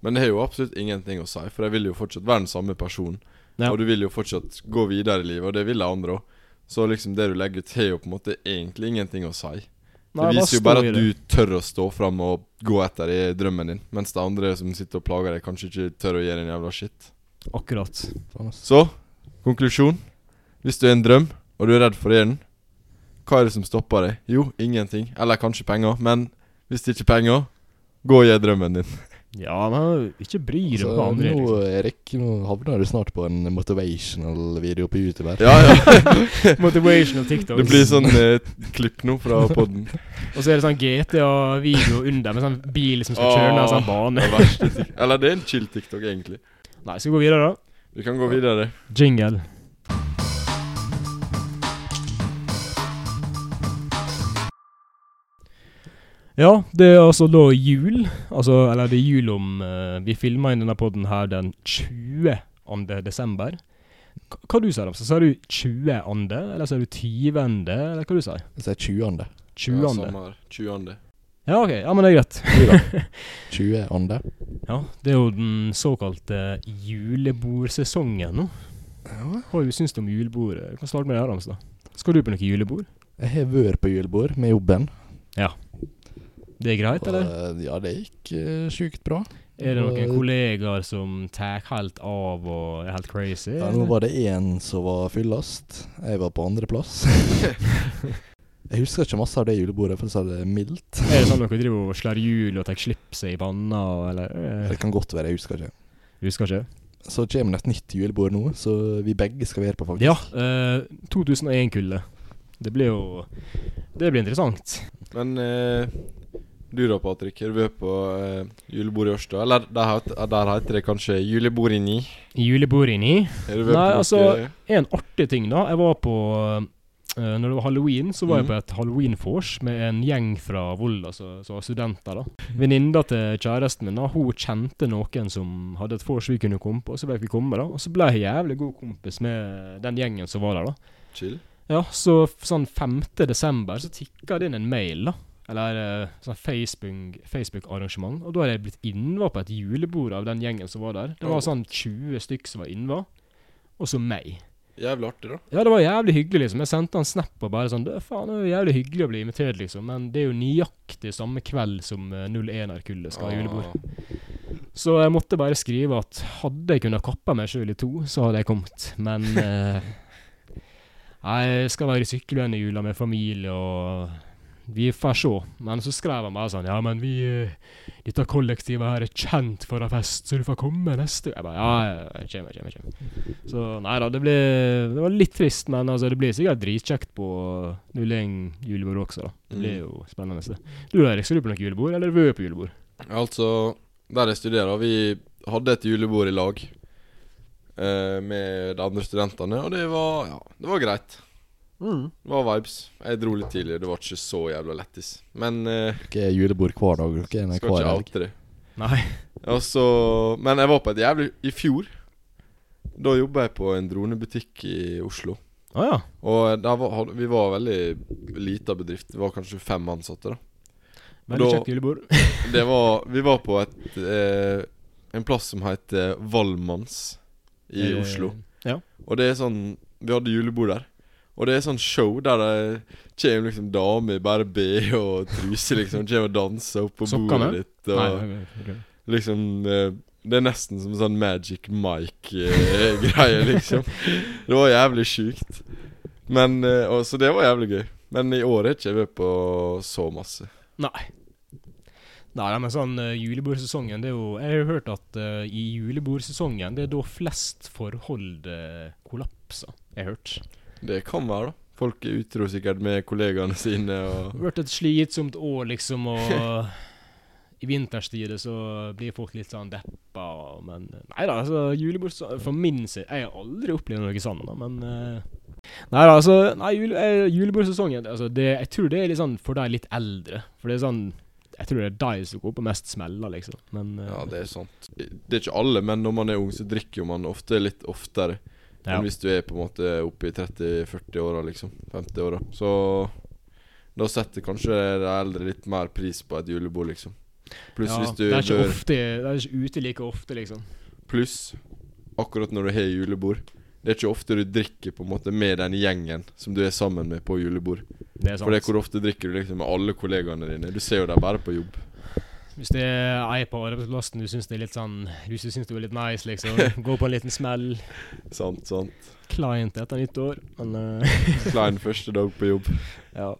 [SPEAKER 3] men det har jo absolutt ingenting å si, for jeg vil jo fortsatt være den samme personen.
[SPEAKER 2] Ja.
[SPEAKER 3] Og du vil jo fortsatt gå videre i livet, og det vil de andre òg. Så liksom det du legger ut, har jo på en måte egentlig ingenting å si.
[SPEAKER 2] Nei,
[SPEAKER 3] det
[SPEAKER 2] hva
[SPEAKER 3] viser jo
[SPEAKER 2] står
[SPEAKER 3] bare
[SPEAKER 2] i
[SPEAKER 3] at
[SPEAKER 2] det?
[SPEAKER 3] du tør å stå fram og gå etter i drømmen din, mens de andre som sitter og plager deg, kanskje ikke tør å gjøre en jævla shit.
[SPEAKER 2] Akkurat.
[SPEAKER 1] Faen, ass.
[SPEAKER 3] Så, konklusjon. Hvis du er en drøm, og du er redd for å gjøre den, hva er det som stopper deg? Jo, ingenting. Eller kanskje penger. Men hvis det ikke er penger, gå og gjør drømmen din.
[SPEAKER 2] Ja, men ikke bry deg
[SPEAKER 1] Så
[SPEAKER 2] om
[SPEAKER 3] Altså,
[SPEAKER 2] hva andre gjør.
[SPEAKER 1] Altså, nå,
[SPEAKER 2] Liksom.
[SPEAKER 1] Erik, nå havner du snart på en motivational video på YouTube her.
[SPEAKER 3] Ja, ja.
[SPEAKER 2] liksom. Motivational TikToks.
[SPEAKER 3] Det blir sånn eh, klipp nå fra poden.
[SPEAKER 2] Og så er det sånn GTA-video under med sånn bil som skal kjøre ned en sånn bane.
[SPEAKER 3] Eller det er en chill TikTok, egentlig.
[SPEAKER 2] Nei, skal vi gå videre, da?
[SPEAKER 3] Vi kan gå videre.
[SPEAKER 2] Jingle. Ja, det er altså da jul. Altså, eller det er jul om eh, Vi filma inn denne podden her den 20. desember. K hva du sa du? Sa du 20. eller sa du 20., eller hva du sa?
[SPEAKER 1] Så er 20.
[SPEAKER 2] 20.
[SPEAKER 3] Ja, samme her. 20.
[SPEAKER 2] Ja, OK. Ja, men det er greit.
[SPEAKER 1] 20. ande.
[SPEAKER 2] Ja, det er jo den såkalte julebordsesongen nå. Hva har du syns du om julebord? Vi kan starte med deg, Ramstad. Skal du på noe julebord?
[SPEAKER 1] Jeg har vært på julebord med jobben.
[SPEAKER 2] Det er greit,
[SPEAKER 1] og,
[SPEAKER 2] eller?
[SPEAKER 1] ja, det gikk eh, sjukt bra.
[SPEAKER 2] Er det noen
[SPEAKER 1] og-
[SPEAKER 2] kollegaer som tar helt av og er helt crazy?
[SPEAKER 1] Ja, nå var det én som var fyllast. Jeg var på andreplass. jeg husker ikke masse av det julebordet, for å si det mildt.
[SPEAKER 2] eller? Er det sånn at dere driver og slår hjul og tar slipset i panna, og- eller? eh,
[SPEAKER 1] Det kan godt være, jeg husker ikke.
[SPEAKER 2] Husker ikke.
[SPEAKER 1] Så kommer det et nytt julebord nå, så vi begge skal være på, faktisk.
[SPEAKER 2] Ja, eh, 2001-kullet. Det blir jo Det blir interessant.
[SPEAKER 3] Men eh, du da, Patrick. Har du vært på eh, julebord i Ørsta? Eller der, het- der heter det kanskje julebord i Ni?
[SPEAKER 2] Julebord inni.
[SPEAKER 3] Har du vært
[SPEAKER 2] Nei,
[SPEAKER 3] på noe-
[SPEAKER 2] altså, En artig ting, da. Jeg var på eh, Når det var halloween, så var jeg
[SPEAKER 3] Mhm.
[SPEAKER 2] på et halloween-vors med en gjeng fra Volda som som var studenter. da Venninna til kjæresten min da Hun kjente noen som hadde et vors vi kunne komme på, så fikk vi komme. da Og så ble jeg jævlig god kompis med den gjengen som var der. da
[SPEAKER 3] Chill.
[SPEAKER 2] Ja, Så f- sånn 5. desember så tikka det inn en mail, da. Eller eh, sånn Facebook- Facebook-arrangement. og da hadde jeg blitt innva på et julebord av den gjengen som var der. Det var
[SPEAKER 3] Åh.
[SPEAKER 2] sånn 20 stykk som var innva, og så meg.
[SPEAKER 3] Jævlig artig, da.
[SPEAKER 2] Ja, det var jævlig hyggelig, liksom. Jeg sendte han snap og bare sånn «Du, Faen, det er jo jævlig hyggelig å bli invitert, liksom. Men det er jo nøyaktig samme kveld som 01-kullet skal ha julebord.
[SPEAKER 3] Ah.
[SPEAKER 2] Så jeg måtte bare skrive at hadde jeg kunnet kappe meg sjøl i to, så hadde jeg kommet. Men eh, jeg skal være i sykkelvenn i jula med familie og vi får se. Men så skrev han bare sånn Ja, men vi eh, Dette kollektivet her er kjent for en fest, så du får komme neste Jeg bare Ja, ja, ja, jeg kommer, jeg kommer, jeg kommer. Så nei da, det ble Det var litt trist, men altså, det blir sikkert dritkjekt på 01 julebord også, da. Det blir jo spennende. det. Du Erik, skal du på noe julebord, eller er du på julebord?
[SPEAKER 3] Altså, der jeg studerer Vi hadde et julebord i lag eh, med de andre studentene, og det var Ja, det var greit. Det var vibes. Jeg dro litt tidlig, det var ikke så jævla lættis. Men eh,
[SPEAKER 1] Dere er julebord hver dag, dere. Nei,
[SPEAKER 3] skal
[SPEAKER 1] hver
[SPEAKER 3] ikke
[SPEAKER 1] helg.
[SPEAKER 3] oute det.
[SPEAKER 2] Nei.
[SPEAKER 3] Og så- Men jeg var på et jævlig I fjor, da jobba jeg på en dronebutikk i Oslo.
[SPEAKER 2] Å ja.
[SPEAKER 3] Og der var, hadde- vi var veldig lita bedrift. Vi var kanskje fem ansatte, da.
[SPEAKER 2] Veldig
[SPEAKER 3] Da-
[SPEAKER 2] kjekt julebord.
[SPEAKER 3] Det var Vi var på et eh, En plass som heter Valmanns i
[SPEAKER 2] Eh,
[SPEAKER 3] Oslo.
[SPEAKER 2] ja.
[SPEAKER 3] Og det er sånn Vi hadde julebord der. Og det er sånn show der det kommer liksom damer i bare BH og truse, liksom. Kommer og danser opp på
[SPEAKER 2] Sokkene?
[SPEAKER 3] bordet ditt. Og
[SPEAKER 2] Nei, ok, ok.
[SPEAKER 3] liksom eh, Det er nesten som sånn Magic Mike-greie, liksom. Det var jævlig sjukt. Men eh, og, Så det var jævlig gøy. Men i år har ikke jeg vært på så masse.
[SPEAKER 2] Nei, nei, men sånn eh, julebordsesongen, det er jo Jeg har jo hørt at eh, i julebordsesongen, det er da flest forhold eh, kollapser. Jeg har hørt.
[SPEAKER 3] Det kan være, da. Folk er utro sikkert med kollegaene sine
[SPEAKER 2] Det
[SPEAKER 3] og
[SPEAKER 2] har vært et slitsomt år, liksom, og i vinterstid så blir folk litt sånn deppa, og- sånn, men Nei da, altså, julebordsesongen For min side Jeg har aldri opplevd noe sånt, da, men eh, Nei, altså, nei jule, eh, julebordsesongen altså, det, Jeg tror det er litt sånn for de litt eldre. For det er sånn Jeg tror det er de som går på mest smeller, liksom. Men eh,
[SPEAKER 3] Ja, det er sant. Det er ikke alle, men når man er ung, så drikker jo man ofte litt oftere
[SPEAKER 2] ja.
[SPEAKER 3] enn hvis du er på en måte oppe i 30-40-åra, liksom. 50-åra. Så da setter kanskje de eldre litt mer pris på et julebord, liksom. Pluss
[SPEAKER 2] Ja,
[SPEAKER 3] hvis du
[SPEAKER 2] det er ikke
[SPEAKER 3] dør
[SPEAKER 2] ofte Det er ikke ute like ofte, liksom.
[SPEAKER 3] Pluss akkurat når du har julebord. Det er ikke ofte du drikker på en måte med den gjengen som du er sammen med på julebord.
[SPEAKER 2] Det er sant.
[SPEAKER 3] For det er hvor ofte drikker du liksom med alle kollegaene dine. Du ser jo dem bare på jobb.
[SPEAKER 2] Hvis det er ei på arbeidsplassen du syns det er litt sånn Du syns det er litt nice, liksom. Gå på en liten smell.
[SPEAKER 3] Sant, sant.
[SPEAKER 2] Client etter nyttår. Men eh,
[SPEAKER 3] Klein første dag på jobb.
[SPEAKER 2] ja.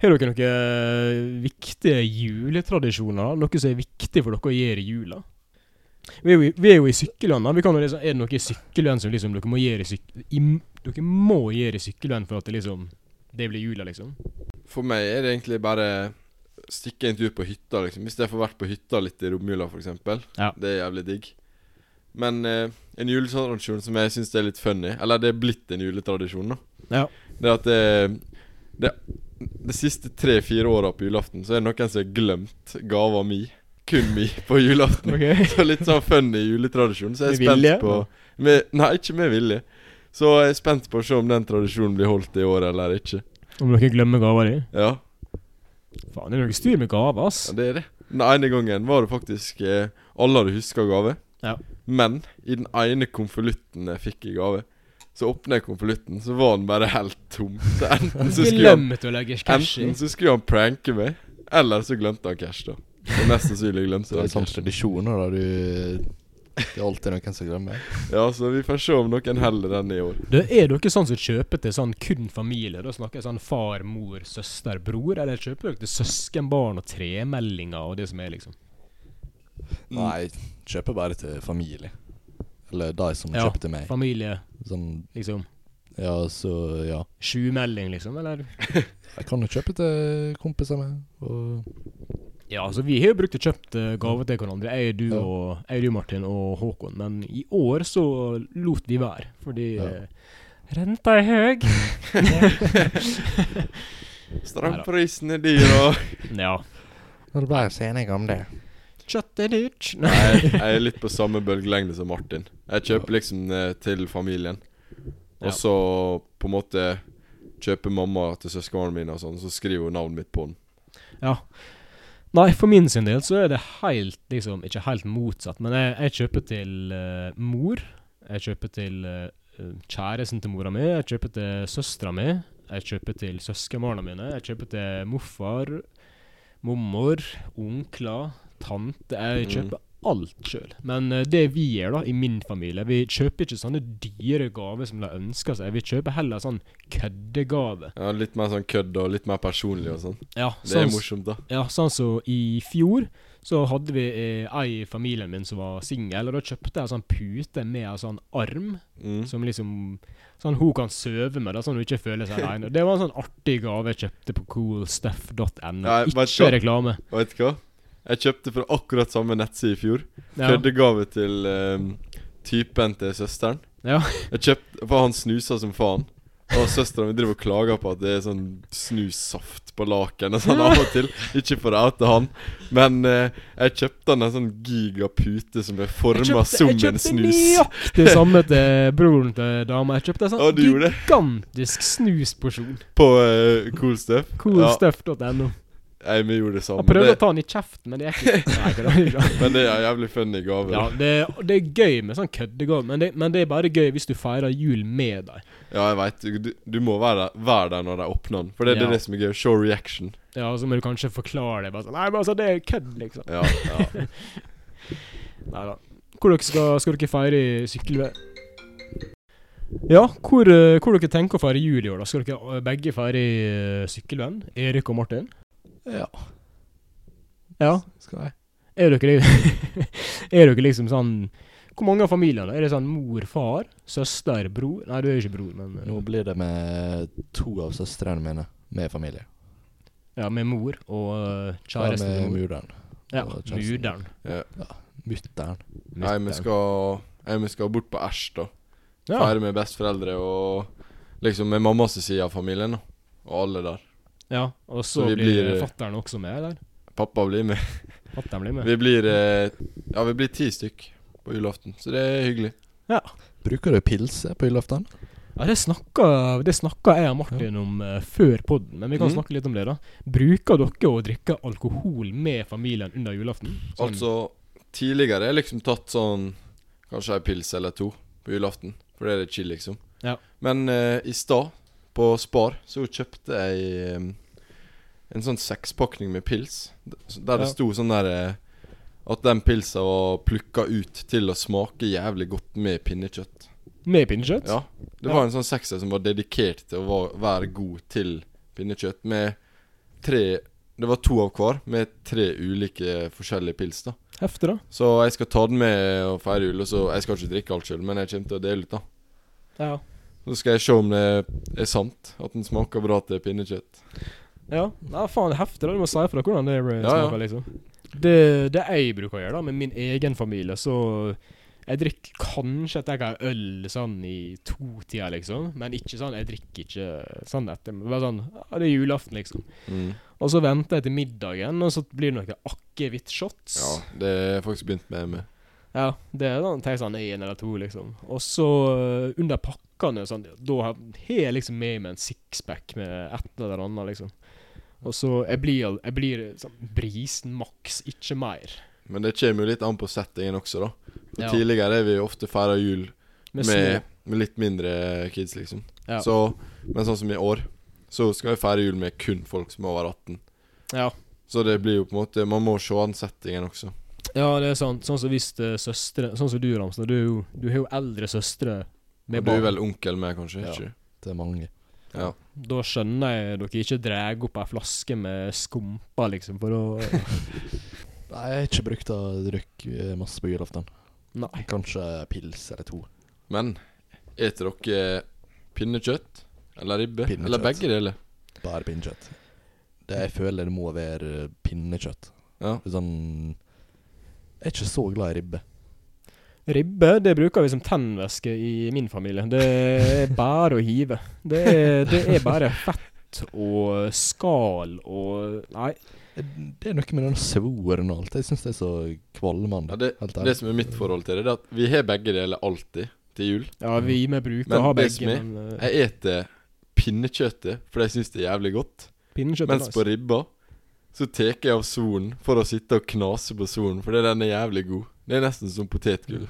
[SPEAKER 2] Har dere noen viktige juletradisjoner? Noe som er viktig for dere å gjøre i jula? Vi er jo i, vi er jo i sykkellønn. da. Vi kan jo liksom, er det noe i sykkellønn som liksom dere må gjøre i, syk, i Dere må gjøre i sykkellønn for at det liksom Det blir jula, liksom?
[SPEAKER 3] For meg er det egentlig bare stikke en tur på hytta, liksom. Hvis jeg får vært på hytta litt i romjula, f.eks.
[SPEAKER 2] Ja.
[SPEAKER 3] Det er jævlig digg. Men eh, en juletradisjon som jeg syns er litt funny, eller det er blitt en juletradisjon, da,
[SPEAKER 2] Ja.
[SPEAKER 3] det er at det, det de siste tre-fire åra på julaften så er det noen som har glemt gava mi. Kun mi på julaften.
[SPEAKER 2] Ok.
[SPEAKER 3] Så litt sånn funny juletradisjon. Så jeg er
[SPEAKER 2] Med
[SPEAKER 3] spent
[SPEAKER 2] vilje?
[SPEAKER 3] på med, Nei, ikke med vilje. Så jeg er spent på å se om den tradisjonen blir holdt i år eller ikke.
[SPEAKER 2] Om dere glemmer gava di?
[SPEAKER 3] Ja,
[SPEAKER 2] Faen, det er noe styr med gaver, ass.
[SPEAKER 3] Ja, det er det. Den ene gangen var det faktisk eh, Alle hadde huska gave.
[SPEAKER 2] Ja.
[SPEAKER 3] Men i den ene konvolutten jeg fikk i gave, så åpna jeg konvolutten, så var den bare helt tom. Så enten så skulle han,
[SPEAKER 2] Glemt å legge cash i.
[SPEAKER 3] enten så skulle han pranke meg, eller så glemte han cash, da. Så mest sannsynlig glemte
[SPEAKER 1] Så det
[SPEAKER 3] han
[SPEAKER 1] er sånne
[SPEAKER 3] cash.
[SPEAKER 1] tradisjoner der du Det er alltid noen som glemmer.
[SPEAKER 3] Ja, så vi får se om noen heller den i år.
[SPEAKER 2] Det er dere sånn som kjøper til sånn kun familie? Da snakker jeg sånn far, mor, søster, bror? Eller kjøper dere til søskenbarn og tremeldinger og det som er, liksom?
[SPEAKER 1] Nei, kjøper bare til familie. Eller de som
[SPEAKER 2] Ja,
[SPEAKER 1] kjøper til meg.
[SPEAKER 2] Familie,
[SPEAKER 1] Sånn,
[SPEAKER 2] liksom.
[SPEAKER 1] ja, så ja.
[SPEAKER 2] Sjumelding, liksom, eller?
[SPEAKER 1] Jeg kan jo kjøpe til kompiser med. Og
[SPEAKER 2] Ja, altså, vi har jo brukt og kjøpt eh, gaver til hverandre, jeg, du
[SPEAKER 1] Ja.
[SPEAKER 2] og jeg, du, Martin og Håkon. Men i år så lot vi være, fordi
[SPEAKER 1] Ja.
[SPEAKER 2] eh, Renta er høy.
[SPEAKER 3] Strømprisen er dyr, og
[SPEAKER 2] ja.
[SPEAKER 1] Når ble vi enige om det?
[SPEAKER 2] Kjøtt er dyrt.
[SPEAKER 3] Nei, jeg er litt på samme bølgelengde som Martin. Jeg kjøper liksom eh, til familien.
[SPEAKER 2] Ja.
[SPEAKER 3] Og så på en måte kjøper mamma til søskenbarna mine, og sånn, så skriver hun navnet mitt på den.
[SPEAKER 2] Ja. Nei, for min sin del så er det helt, liksom, ikke helt motsatt. Men jeg, jeg kjøper til eh, mor. Jeg kjøper til eh, kjæresten til mora mi. Jeg kjøper til søstera mi. Jeg kjøper til søskenbarna mine. Jeg kjøper til morfar, mormor, onkler, tante. Jeg
[SPEAKER 3] Mm.
[SPEAKER 2] kjøper alt sjøl. Men eh, det vi gjør, da, i min familie Vi kjøper ikke sånne dyre gaver som de ønsker seg. Vi kjøper heller sånn køddegave.
[SPEAKER 3] Ja, litt mer sånn kødd og litt mer personlig og sånn.
[SPEAKER 2] Ja,
[SPEAKER 3] Det er morsomt, da.
[SPEAKER 2] ja, sånn som i fjor, så hadde vi eh, ei i familien min som var singel, og da kjøpte jeg en sånn pute med en sånn arm,
[SPEAKER 3] Mm.
[SPEAKER 2] som liksom Sånn hun kan søve med, da, sånn hun ikke føler seg aleine. Det var en sånn artig gave jeg kjøpte på coolstuff.no.
[SPEAKER 3] Nei, vet du
[SPEAKER 2] Ikke
[SPEAKER 3] hva?
[SPEAKER 2] reklame.
[SPEAKER 3] Og Vet du hva? Jeg kjøpte fra akkurat samme nettside i fjor.
[SPEAKER 2] Ja.
[SPEAKER 3] Køddegave til ehm, typen til søsteren.
[SPEAKER 2] Ja.
[SPEAKER 3] Jeg kjøpte For han snuser som faen. Og søstera mi driver og klager på at det er sånn snussaft på laken og sånn av og til. Ikke for å oute han, men eh, jeg kjøpte han en sånn gigapute som er forma som
[SPEAKER 2] jeg
[SPEAKER 3] en
[SPEAKER 2] kjøpte
[SPEAKER 3] snus.
[SPEAKER 2] nøyaktig det samme til broren til dama. Jeg kjøpte en
[SPEAKER 3] Å,
[SPEAKER 2] sånn
[SPEAKER 3] du gjorde det?
[SPEAKER 2] gigantisk snusporsjon.
[SPEAKER 3] På eh, Cool Stuff.
[SPEAKER 2] Coolstuff.no.
[SPEAKER 3] Ja, jeg, vi gjorde det samme.
[SPEAKER 2] Han prøvde
[SPEAKER 3] Det,
[SPEAKER 2] å ta den i kjeften, men det gikk ikke. Nei, det var ikke.
[SPEAKER 3] men det er en jævlig funny gave.
[SPEAKER 2] Ja,
[SPEAKER 3] da.
[SPEAKER 2] det, det er gøy med sånn køddegave, men, det- men det er bare gøy hvis du feirer jul med deg.
[SPEAKER 3] Ja, jeg veit. Du, du må være der, være der når de åpner den. For det, det
[SPEAKER 2] Ja.
[SPEAKER 3] er det som er gøy. Show reaction.
[SPEAKER 2] Ja, og Så må du kanskje forklare det. bare sånn, Nei, men altså, det er kødd, liksom.
[SPEAKER 3] Ja, ja.
[SPEAKER 2] Nei da. Hvor dere skal, skal dere feire i sykkelvei? Ja, hvor, eh, hvor dere tenker å feire jul i år, da? Skal dere eh, begge feire i eh, sykkelvenn? Erik og Martin?
[SPEAKER 1] Ja,
[SPEAKER 2] Ja.
[SPEAKER 1] skal jeg.
[SPEAKER 2] Er dere, er dere liksom sånn Hvor mange av familiene? Er det sånn mor, far, søster, bror? Nei, du er jo ikke bror, men eh,
[SPEAKER 1] Nå blir det med to av søstrene mine med familie.
[SPEAKER 2] Ja, med mor og eh,
[SPEAKER 1] Ja,
[SPEAKER 2] kjæresten. til
[SPEAKER 1] med
[SPEAKER 2] mor.
[SPEAKER 1] muderen.
[SPEAKER 2] Ja,
[SPEAKER 1] og kjæresten.
[SPEAKER 2] mudder'n.
[SPEAKER 1] Mutter'n.
[SPEAKER 3] Nei, vi skal, nei, vi skal bort på Æsj, da.
[SPEAKER 2] Ja.
[SPEAKER 3] Feire med besteforeldre og Liksom med mammas side av familien, da. Og alle der.
[SPEAKER 2] Ja, og så,
[SPEAKER 3] Så vi
[SPEAKER 2] blir,
[SPEAKER 3] blir-
[SPEAKER 2] fatteren også med, eller?
[SPEAKER 3] Pappa blir med.
[SPEAKER 2] Fatteren blir med.
[SPEAKER 3] Vi blir eh, Ja, vi blir ti stykk på julaften, så det er hyggelig.
[SPEAKER 1] Bruker du pilse på julaften?
[SPEAKER 2] Ja, det snakka, det snakka jeg og Martin om eh, før podden, men vi kan
[SPEAKER 3] Mm.
[SPEAKER 2] snakke litt om det, da. Bruker dere å drikke alkohol med familien under julaften? Sånn-
[SPEAKER 3] Altså, tidligere har jeg liksom tatt sånn Kanskje ei pils eller to på julaften. For det er det chill, liksom.
[SPEAKER 2] Ja.
[SPEAKER 3] Men eh, i stad, på Spar, så kjøpte jeg em, en sånn sekspakning med pils. d- Der det
[SPEAKER 2] Ja.
[SPEAKER 3] sto sånn der eh, At den pilsa var plukka ut til å smake jævlig godt med pinnekjøtt.
[SPEAKER 2] Med pinnekjøtt?
[SPEAKER 3] Ja. Det
[SPEAKER 2] Ja.
[SPEAKER 3] var en sånn sekser som var dedikert til å va- være god til pinnekjøtt. Med tre Det var to av hver, med tre ulike forskjellige pils, da.
[SPEAKER 2] Heftig, da.
[SPEAKER 3] Så jeg skal ta den med og feire jul. Og så, jeg skal ikke drikke alt sjøl, men jeg kommer til å dele ut. da
[SPEAKER 2] Ja.
[SPEAKER 3] Så skal jeg se om det er sant, at den smaker bra til pinnekjøtt.
[SPEAKER 2] Ja, Nei, faen, det er heftig. da Du må si fra hvordan det eh,
[SPEAKER 3] Ja, ja.
[SPEAKER 2] smaker, liksom. Det, det jeg bruker å gjøre da, med min egen familie, så Jeg drikker kanskje at jeg har øl sånn i to-tida, liksom. Men ikke sånn, jeg drikker ikke sånn etter. men Bare sånn, ja, det er julaften, liksom.
[SPEAKER 3] Mm.
[SPEAKER 2] Og så venter jeg til middagen, og så blir det noen akevitt-shots.
[SPEAKER 3] Ja, det har jeg faktisk begynt med. med.
[SPEAKER 2] Ja, det er sånn, tenk sånn én eller to, liksom. Og så øh, under pakkene, sånn, da har har jeg liksom med meg en sixpack med et eller annet, liksom. Og så jeg blir, al- jeg blir sånn brisen maks, ikke mer.
[SPEAKER 3] Men det kommer jo litt an på settingen også, da. For
[SPEAKER 2] Ja.
[SPEAKER 3] Tidligere har vi jo ofte feira jul
[SPEAKER 2] Med,
[SPEAKER 3] med, med litt mindre kids, liksom.
[SPEAKER 2] Ja.
[SPEAKER 3] Så, men sånn som i år, så skal vi feire jul med kun folk som er over 18.
[SPEAKER 2] små ja.
[SPEAKER 3] Så det blir jo på en måte Man må se an settingen også.
[SPEAKER 2] ja, det er sant. Sånn som hvis eh, søstre Sånn som du, Ramsen. Du, er jo- du har jo eldre søstre
[SPEAKER 3] Og
[SPEAKER 2] med
[SPEAKER 3] du er
[SPEAKER 2] barn.
[SPEAKER 3] vel onkel med, kanskje?
[SPEAKER 1] Ja.
[SPEAKER 3] ikke du?
[SPEAKER 1] Det er mange.
[SPEAKER 3] Ja.
[SPEAKER 2] Da skjønner jeg dere ikke drar opp ei flaske med skumpa, liksom, for å
[SPEAKER 1] Nei, jeg har ikke brukt å drikke eh, masse på julaften.
[SPEAKER 2] Nei.
[SPEAKER 1] Kanskje pils eller to.
[SPEAKER 3] Men eter dere eh, pinnekjøtt eller ribbe?
[SPEAKER 1] Pinnekjøtt.
[SPEAKER 3] Eller begge deler?
[SPEAKER 1] Bare pinnekjøtt. Det jeg føler det må være eh, pinnekjøtt.
[SPEAKER 3] Ja.
[SPEAKER 1] Sånn Jeg er ikke så glad i ribbe.
[SPEAKER 2] Ribbe det bruker vi som tennvæske i min familie. Det er bare å hive. Det er, det er bare fett og skal og Nei.
[SPEAKER 1] Det er noe med den svoren og alt. Jeg syns det er så kvalmende.
[SPEAKER 3] Ja, det,
[SPEAKER 1] helt
[SPEAKER 3] det
[SPEAKER 1] ærlig.
[SPEAKER 3] som er mitt forhold til det, det er at vi har begge deler alltid til jul.
[SPEAKER 2] Ja, vi med bruker
[SPEAKER 3] Men
[SPEAKER 2] å ha
[SPEAKER 3] det som
[SPEAKER 2] begge,
[SPEAKER 3] er-
[SPEAKER 2] men eh,
[SPEAKER 3] Jeg eter pinnekjøttet fordi jeg syns det er jævlig godt.
[SPEAKER 2] pinnekjøtt er
[SPEAKER 3] Mens på
[SPEAKER 2] nice.
[SPEAKER 3] ribba så tar jeg av svoren for å sitte og knase på svoren, fordi den er jævlig god. Det er nesten som potetgull.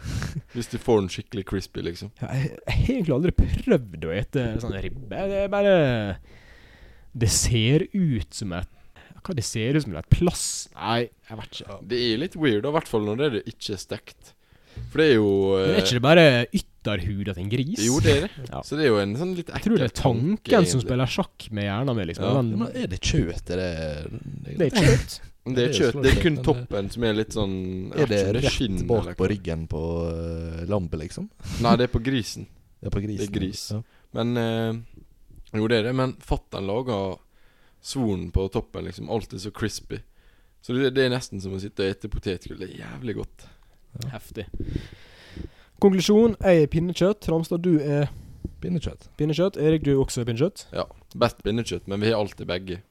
[SPEAKER 3] Hvis du får den skikkelig crispy, liksom.
[SPEAKER 2] Ja, jeg jeg har egentlig aldri prøvd å ete sånn ribbe. Det er bare Det ser ut som et Hva det ser ut som? Et plass? Nei, jeg vet ikke.
[SPEAKER 3] Det er litt weird, da, i hvert fall når det er ikke er stekt. For det er jo
[SPEAKER 2] Men er
[SPEAKER 3] eh,
[SPEAKER 2] ikke det bare ytterhuda til en gris?
[SPEAKER 3] Jo, det er det.
[SPEAKER 2] Ja.
[SPEAKER 3] Så det er jo en sånn litt
[SPEAKER 2] Jeg tror
[SPEAKER 3] ekkel
[SPEAKER 2] det er tanken som spiller sjakk med hjernen min, liksom.
[SPEAKER 3] Ja.
[SPEAKER 2] Den-
[SPEAKER 1] Ja, men er det kjøtt? Er det Det,
[SPEAKER 2] Det er kjøtt.
[SPEAKER 3] Det er
[SPEAKER 1] Det er
[SPEAKER 3] kjøtt.
[SPEAKER 1] jo
[SPEAKER 3] Det er
[SPEAKER 1] slagkjøtt,
[SPEAKER 3] kun
[SPEAKER 1] men det-
[SPEAKER 3] toppen som er litt sånn
[SPEAKER 1] Er
[SPEAKER 3] jeg vet
[SPEAKER 1] det
[SPEAKER 3] ikke om
[SPEAKER 1] rett
[SPEAKER 3] skinn
[SPEAKER 1] bak
[SPEAKER 3] eller
[SPEAKER 1] på
[SPEAKER 3] hva.
[SPEAKER 1] ryggen på eh, lampe, liksom?
[SPEAKER 3] Nei, det er på grisen.
[SPEAKER 1] Det er på grisen.
[SPEAKER 3] gris.
[SPEAKER 1] Ja.
[SPEAKER 3] Men eh, Jo, det er det, men fatter'n lager svoren på toppen, liksom. Alltid så crispy. Så det, det er nesten som å sitte og ete potetgull. Det er jævlig godt.
[SPEAKER 2] Heftig. Konklusjon. Jeg er pinnekjøtt. Ramstad, du er
[SPEAKER 1] Pinnekjøtt.
[SPEAKER 2] pinnekjøtt. Erik, du er også pinnekjøtt.
[SPEAKER 3] Best pinnekjøtt, men vi har alltid begge.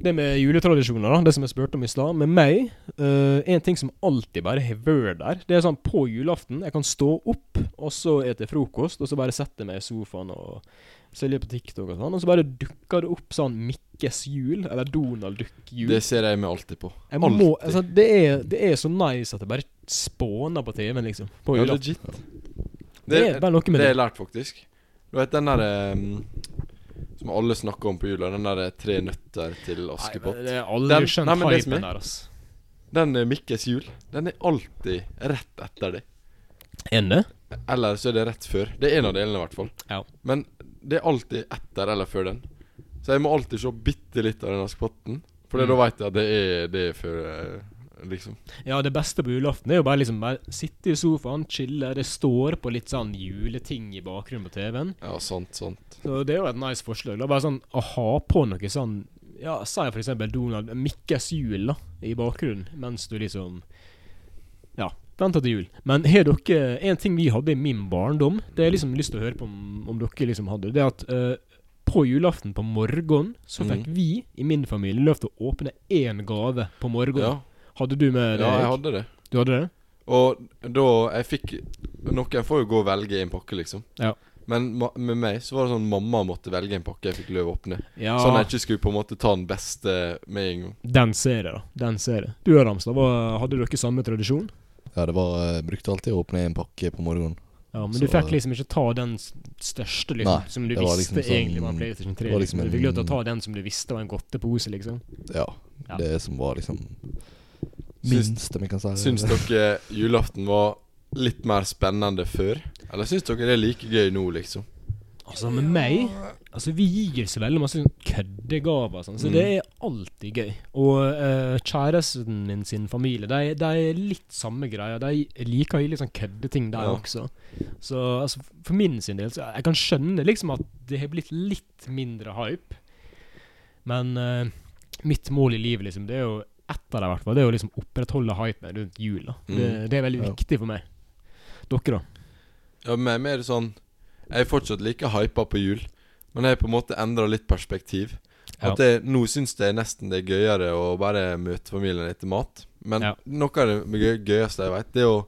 [SPEAKER 2] Det med juletradisjoner, da, det som jeg spurte om i stad. Med meg, eh, en ting som alltid bare har vært der, det er sånn på julaften Jeg kan stå opp, og så ete frokost, og så bare sette meg i sofaen og se litt på TikTok og sånn, og så bare dukker det opp sånn Mikkes jul, eller Donald Duck-jul.
[SPEAKER 3] Det ser jeg meg alltid på.
[SPEAKER 2] Jeg må, altså, det, er, det er så nice at det bare spåner på TV-en, liksom. På
[SPEAKER 3] Ja,
[SPEAKER 2] julaften.
[SPEAKER 3] legit.
[SPEAKER 2] Det er bare noe med
[SPEAKER 3] Det har
[SPEAKER 2] det.
[SPEAKER 3] jeg lært, faktisk. Du vet den derre som alle snakker om på jula, den derre tre nøtter til Askepott.
[SPEAKER 2] Nei, men det er aldri
[SPEAKER 3] Den-
[SPEAKER 2] skjønt
[SPEAKER 3] nei, men det som
[SPEAKER 2] hypen
[SPEAKER 3] er-
[SPEAKER 2] der, altså.
[SPEAKER 3] Den eh, Mikkes jul, den er alltid rett etter det.
[SPEAKER 2] Ende?
[SPEAKER 3] Eller så er det rett før. Det er en av delene, i hvert fall.
[SPEAKER 2] Ja.
[SPEAKER 3] Men det er alltid etter eller før den. Så jeg må alltid se bitte litt av den askepotten. For
[SPEAKER 2] Mm.
[SPEAKER 3] da veit jeg at det er det er før, eh, liksom.
[SPEAKER 2] Ja, det beste på julaften er jo bare liksom bare sitte i sofaen, chille. Det står på litt sånn juleting i bakgrunnen på TV-en.
[SPEAKER 3] Ja, sant, sant.
[SPEAKER 2] Så det er jo et nice forslag. Da. Bare sånn å ha på noe sånn Ja, si for eksempel Donald Mikkes jul, da, i bakgrunnen, mens du liksom Ja, venter til jul. Men har dere En ting vi hadde i min barndom, det har jeg liksom lyst til å høre på om, om dere liksom hadde, det er at eh, på julaften på morgenen så fikk
[SPEAKER 3] Mm.
[SPEAKER 2] vi i min familie lov til å åpne én gave på
[SPEAKER 3] Ja,
[SPEAKER 2] morgenen. Hadde du med det?
[SPEAKER 3] ja, jeg
[SPEAKER 2] Erik?
[SPEAKER 3] hadde det.
[SPEAKER 2] Du hadde det?
[SPEAKER 3] Og da jeg fikk Noen får jo gå og velge en pakke, liksom.
[SPEAKER 2] Ja.
[SPEAKER 3] Men ma med meg så var det sånn mamma måtte velge en pakke jeg fikk lov å åpne.
[SPEAKER 2] Ja.
[SPEAKER 3] Sånn at jeg ikke skulle på en måte ta den beste med en gang.
[SPEAKER 2] Den ser jeg, da. Den ser jeg. Du og Ramstad, hva- hadde dere samme tradisjon?
[SPEAKER 1] Ja, det var Jeg brukte alltid å åpne en pakke på morgenen.
[SPEAKER 2] Ja, men
[SPEAKER 1] Så-
[SPEAKER 2] du fikk liksom ikke ta den s- største, liksom,
[SPEAKER 1] Nei,
[SPEAKER 2] som du
[SPEAKER 1] det var
[SPEAKER 2] visste
[SPEAKER 1] liksom sånn-
[SPEAKER 2] egentlig var en PlayStation 3.
[SPEAKER 1] det var
[SPEAKER 2] Liksom,
[SPEAKER 1] liksom
[SPEAKER 2] du fikk lov til
[SPEAKER 1] en-
[SPEAKER 2] å ta den som du visste var en godtepose, liksom.
[SPEAKER 1] Ja.
[SPEAKER 2] Ja.
[SPEAKER 1] Det som var liksom
[SPEAKER 3] Syns-
[SPEAKER 1] minste vi kan si.
[SPEAKER 3] Syns dere julaften var litt mer spennende før? Eller syns dere det er like gøy nå, liksom?
[SPEAKER 2] Altså, med meg Altså, vi gir så veldig masse sånn køddegaver, og sånn, så
[SPEAKER 3] Mm.
[SPEAKER 2] det er alltid gøy. Og eh, kjæresten min sin familie, de, de er litt samme greia. De liker å gi litt sånn køddeting, de
[SPEAKER 3] Ja.
[SPEAKER 2] også. Så altså, for min sin del, så jeg kan skjønne liksom at det har blitt litt mindre hype. Men eh, mitt mål i livet, liksom, det er jo ett av det, i hvert fall, det er å liksom opprettholde hypen rundt jula. Det,
[SPEAKER 3] Mm.
[SPEAKER 2] det er veldig
[SPEAKER 1] Ja.
[SPEAKER 2] viktig for meg. Dere, da?
[SPEAKER 3] Ja, med meg er det sånn Jeg er fortsatt like hypa på jul, men jeg har på en måte endra litt perspektiv.
[SPEAKER 2] Ja.
[SPEAKER 3] At jeg, Nå syns jeg nesten det er gøyere å bare møte familien etter mat. Men
[SPEAKER 2] Ja.
[SPEAKER 3] noe av det gøy- gøyeste jeg vet, det er å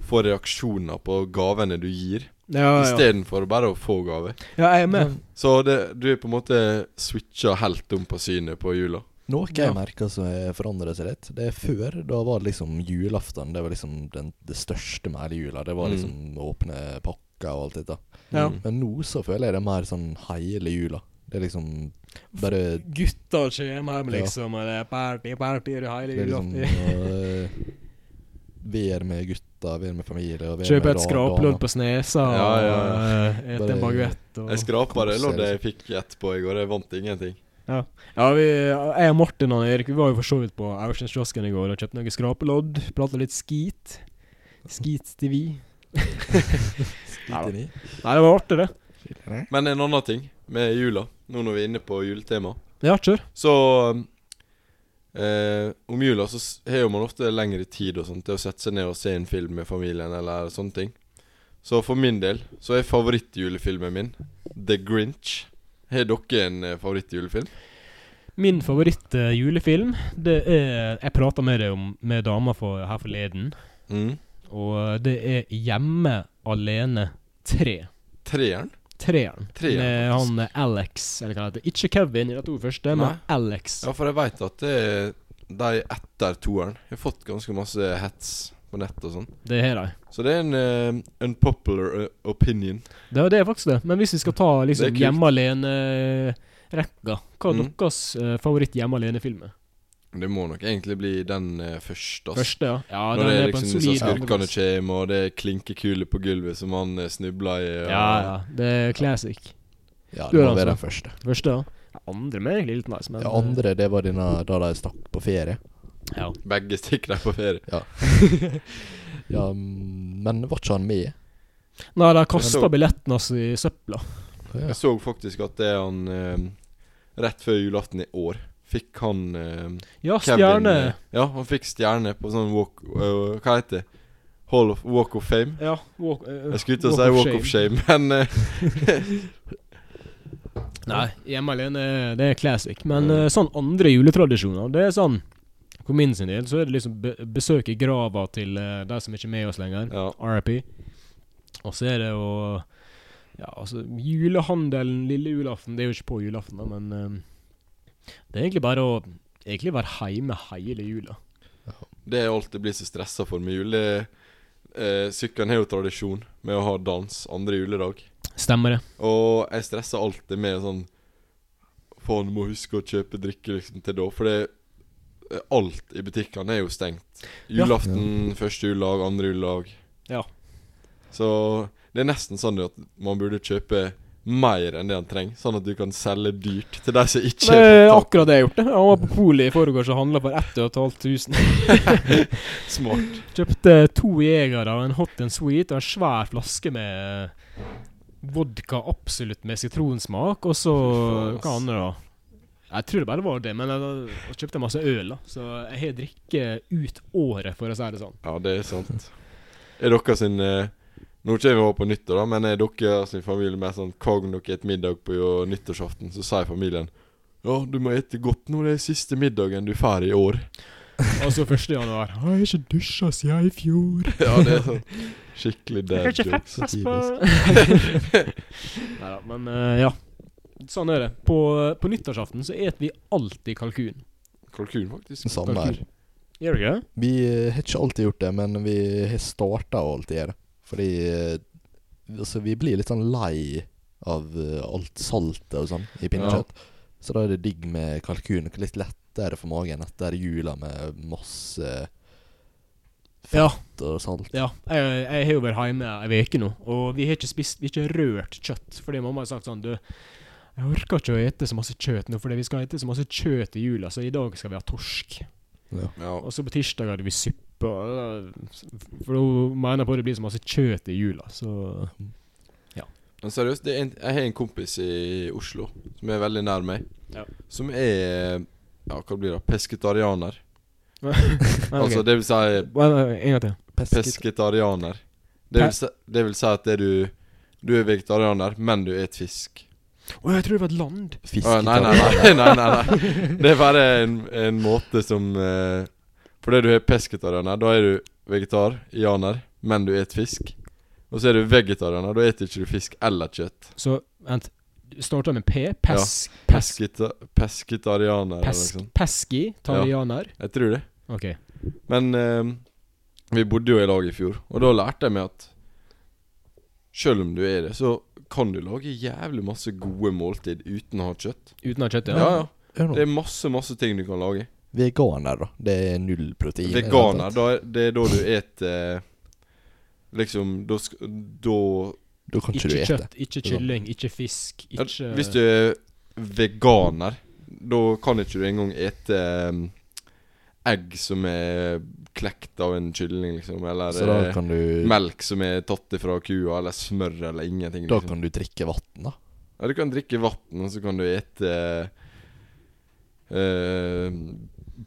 [SPEAKER 3] få reaksjoner på gavene du gir,
[SPEAKER 2] Ah, Ja,
[SPEAKER 3] istedenfor bare å få gave.
[SPEAKER 2] jeg er med.
[SPEAKER 3] Så det, du er på en måte switcha helt om på synet på jula.
[SPEAKER 1] Noe jeg
[SPEAKER 2] Ja.
[SPEAKER 1] merker som har forandra seg litt, det er før. Da var det liksom julaften. Det var liksom den, det største med hele jula. Det var
[SPEAKER 3] Mm.
[SPEAKER 1] liksom å åpne pakker og alt dette.
[SPEAKER 2] Ja.
[SPEAKER 3] Mm.
[SPEAKER 1] Men nå så føler jeg det er mer sånn hele jula. Det er liksom bare
[SPEAKER 2] Gutta kommer hjem,
[SPEAKER 1] Ja.
[SPEAKER 2] liksom, og det er party, party, det er hele
[SPEAKER 1] Det er liksom
[SPEAKER 2] julaften.
[SPEAKER 1] øh, Vær med gutta, vær med familie og vær
[SPEAKER 2] Kjøpe
[SPEAKER 1] med
[SPEAKER 2] et
[SPEAKER 1] da-
[SPEAKER 2] skrapelodd
[SPEAKER 1] damer.
[SPEAKER 2] på snesa og
[SPEAKER 3] Ja, ja,
[SPEAKER 2] eh, et
[SPEAKER 1] Bare-
[SPEAKER 2] en baguett. Og...
[SPEAKER 3] Jeg skrapa det
[SPEAKER 1] kose
[SPEAKER 3] loddet
[SPEAKER 1] deg.
[SPEAKER 3] jeg fikk etterpå i går. Jeg vant ingenting.
[SPEAKER 2] Ja, vi, jeg og Martin og Erik Vi var jo for så vidt på Aursenskiosken i går og kjøpte noen skrapelodd. Prata litt skit. Skit til vi.
[SPEAKER 1] Skit i ni.
[SPEAKER 2] Nei, det var artig, det.
[SPEAKER 3] Men en annen ting med jula, nå når vi er inne på juletema
[SPEAKER 2] Ja, kjør.
[SPEAKER 3] Så eh, om jula så s- har jo man ofte lengre tid og sånt til å sette seg ned og se en film med familien eller sånne ting. Så for min del så er favorittjulefilmen min The Grinch. Har dere en eh, favorittjulefilm?
[SPEAKER 2] Min favoritt-julefilm, det er Jeg prata med deg om med dama for, her forleden,
[SPEAKER 3] Mm.
[SPEAKER 2] og det er Hjemme alene 3.
[SPEAKER 3] Treeren?
[SPEAKER 2] Treeren.
[SPEAKER 3] Treeren,
[SPEAKER 2] med
[SPEAKER 3] faktisk.
[SPEAKER 2] han eh, Alex, eller hva det heter. Ikke Kevin i de to første,
[SPEAKER 3] Nei.
[SPEAKER 2] men Alex.
[SPEAKER 3] Ja, for jeg veit at det er de etter toeren har fått ganske masse hets på nett og sånn.
[SPEAKER 2] Det har de.
[SPEAKER 3] Så det er en eh, unpopular eh, opinion.
[SPEAKER 2] Det, er- det er faktisk det. Men hvis vi skal ta
[SPEAKER 3] Det er
[SPEAKER 2] liksom
[SPEAKER 3] kult.
[SPEAKER 2] hjemme alene-rekka, hva er
[SPEAKER 3] Mm.
[SPEAKER 2] deres eh, favoritt hjemme alene-film? er?
[SPEAKER 3] Det må nok egentlig bli den eh, første. ass.
[SPEAKER 2] Første, ja. ja
[SPEAKER 3] Når
[SPEAKER 2] den
[SPEAKER 3] det
[SPEAKER 2] er
[SPEAKER 3] er
[SPEAKER 2] på en
[SPEAKER 3] liksom disse
[SPEAKER 2] solid
[SPEAKER 3] skurkene
[SPEAKER 2] andreplass.
[SPEAKER 3] kommer, og det er klinkekuler på gulvet som han eh, snubler i. og-
[SPEAKER 2] Ja, ja. Det er classic.
[SPEAKER 1] Ja,
[SPEAKER 2] Du
[SPEAKER 1] det
[SPEAKER 2] er
[SPEAKER 1] må
[SPEAKER 2] altså-
[SPEAKER 1] være den første.
[SPEAKER 2] Første, ja. Ja, Andre med egentlig litt nice, men
[SPEAKER 1] Det andre, det var denne da de stakk på ferie.
[SPEAKER 2] eh, ja.
[SPEAKER 3] Begge stikker der på ferie.
[SPEAKER 1] Ja, mm, men var ikke han med?
[SPEAKER 2] Nei, de kasta
[SPEAKER 3] Så-
[SPEAKER 2] billetten altså i søpla.
[SPEAKER 1] Ja.
[SPEAKER 3] Jeg så faktisk at det er han eh, Rett før julaften i år fikk han eh,
[SPEAKER 2] Ja,
[SPEAKER 3] Kevin,
[SPEAKER 2] stjerne.
[SPEAKER 3] eh, Ja, han fikk stjerne på sånn walk eh, Hva heter det? Hall of, walk of Fame?
[SPEAKER 2] Ja, walk, eh,
[SPEAKER 3] Jeg skulle til å si Walk of Shame, men eh,
[SPEAKER 2] Nei, hjemme alene det er classic. Men
[SPEAKER 3] Mm.
[SPEAKER 2] eh, sånn andre juletradisjoner, det er sånn For min sin del så er det liksom be besøke grava til eh, de som ikke er med oss lenger.
[SPEAKER 3] ja.
[SPEAKER 2] RIP. Og så er det jo Ja, altså Julehandelen lille julaften, det er jo ikke på julaften, da, men eh, Det er egentlig bare å Egentlig være hjemme hele jula.
[SPEAKER 3] Det er alt jeg blir så stressa for med jul. Det er, eh, Sykkelen har jo tradisjon med å ha dans andre juledag.
[SPEAKER 2] Stemmer det.
[SPEAKER 3] Og jeg stresser alltid med sånn Faen, må huske å kjøpe drikke liksom til da. For det eh, alt i butikkene er jo stengt.
[SPEAKER 2] Ja.
[SPEAKER 3] Julaften, første juledag, andre juledag.
[SPEAKER 2] Ja.
[SPEAKER 3] Så det er nesten sånn at man burde kjøpe mer enn det han trenger, sånn at du kan selge dyrt til de som ikke
[SPEAKER 2] Det er
[SPEAKER 3] har
[SPEAKER 2] akkurat det jeg har gjort. det Jeg var på polet i forgårs og handla for 1500.
[SPEAKER 3] tatt smart.
[SPEAKER 2] Kjøpte to jegere, en hot and sweet og en svær flaske med eh, vodka absolutt med sitronsmak. Og så
[SPEAKER 3] Fy faen, ass.
[SPEAKER 2] Hva annet, da? Jeg tror det bare var det, men jeg, jeg kjøpte masse øl, da. Så jeg har drikke ut året, for å si det sånn.
[SPEAKER 3] Ja, det er sant. Er dere sin eh, Nå kommer vi over på nyttår, da, men er dere sin familie mer sånn Hver gang dere spiser middag på jo- nyttårsaften, så sier familien Ja, du må ete godt nå, det er siste middagen du får i år.
[SPEAKER 2] Altså 1. januar. Jeg har ikke dusja siden i fjor.
[SPEAKER 3] ja, det er sånn skikkelig dad jokes.
[SPEAKER 1] fett,
[SPEAKER 2] Nei da, men eh, ja. Sånn er det. På, på nyttårsaften så et vi alltid kalkun.
[SPEAKER 3] Kalkun, faktisk.
[SPEAKER 1] Samme her.
[SPEAKER 2] Gjør du ikke det?
[SPEAKER 1] Vi eh, har ikke alltid gjort det, men vi har starta å alltid gjøre det. Fordi eh, altså, vi blir litt sånn lei av eh, alt saltet og sånn i pinnekjøtt. Så da er det digg med kalkun. og Litt lettere for magen etter jula med masse
[SPEAKER 2] Ja.
[SPEAKER 1] fett og salt.
[SPEAKER 2] ja. Jeg, jeg har jo vært hjemme ei uke nå, og vi har ikke spist Vi har ikke rørt kjøtt. Fordi mamma har sagt sånn Du, jeg orker ikke å ete så masse kjøtt nå, fordi vi skal ete så masse kjøtt i jula, så i dag skal vi ha torsk.
[SPEAKER 3] Ja.
[SPEAKER 2] Og så på tirsdag hadde vi suppe. og det- For hun mener på at det blir så masse kjøtt i jula, så
[SPEAKER 3] Men seriøst, det er en, jeg har en kompis i Oslo som er veldig nær meg.
[SPEAKER 2] Ja.
[SPEAKER 3] Som er ja, hva blir det, pesketarianer.
[SPEAKER 2] Nei, Ah, ok.
[SPEAKER 3] Altså det vil si
[SPEAKER 2] Nei, nei, En gang til.
[SPEAKER 3] pesketarianer. Det
[SPEAKER 2] Hæ?
[SPEAKER 3] vil si, det vil si at det er du du er vegetarianer, men du et fisk.
[SPEAKER 2] Å, jeg tror det var et land.
[SPEAKER 3] Å, nei, nei, nei, nei, nei, nei. Det er bare en, en måte som eh, Fordi du er pesketarianer, da er du vegetarianer, men du et fisk. Og så er du vegetarianer, da spiser ikke du fisk eller kjøtt.
[SPEAKER 2] Så vent. Du Starter med P. Pes, pes,
[SPEAKER 3] Pesketa, pesketarianer. eller noe
[SPEAKER 2] pes,
[SPEAKER 3] sånt.
[SPEAKER 2] peski. Tarianer.
[SPEAKER 3] Jeg tror det.
[SPEAKER 2] OK.
[SPEAKER 3] Men eh, vi bodde jo i lag i fjor, og da lærte jeg meg at selv om du er det, så kan du lage jævlig masse gode måltid uten å ha kjøtt.
[SPEAKER 2] Uten av kjøtt,
[SPEAKER 3] Ja,
[SPEAKER 2] ja.
[SPEAKER 3] ja.
[SPEAKER 1] Hør
[SPEAKER 3] Det
[SPEAKER 1] nå.
[SPEAKER 3] er masse, masse ting du kan lage.
[SPEAKER 1] Veganer, da. Det er null protein. i det hele
[SPEAKER 3] Veganer,
[SPEAKER 1] tatt.
[SPEAKER 3] da, er- det er da du et eh, Liksom, da, sk- da
[SPEAKER 1] Da kan ikke du
[SPEAKER 2] Ikke
[SPEAKER 1] ete.
[SPEAKER 2] kjøtt, ikke kylling, ikke fisk,
[SPEAKER 3] sånn. ja,
[SPEAKER 2] ikke
[SPEAKER 3] Hvis du er veganer, da kan ikke du engang ete eh, egg som er klekt av en kylling, liksom, eller
[SPEAKER 1] Så da
[SPEAKER 3] eh,
[SPEAKER 1] kan du
[SPEAKER 3] Melk som er tatt ifra kua, eller smør, eller ingenting.
[SPEAKER 1] Da
[SPEAKER 3] liksom.
[SPEAKER 1] kan du drikke vann, da.
[SPEAKER 3] Ja, du kan drikke vann, og så kan du ete eh,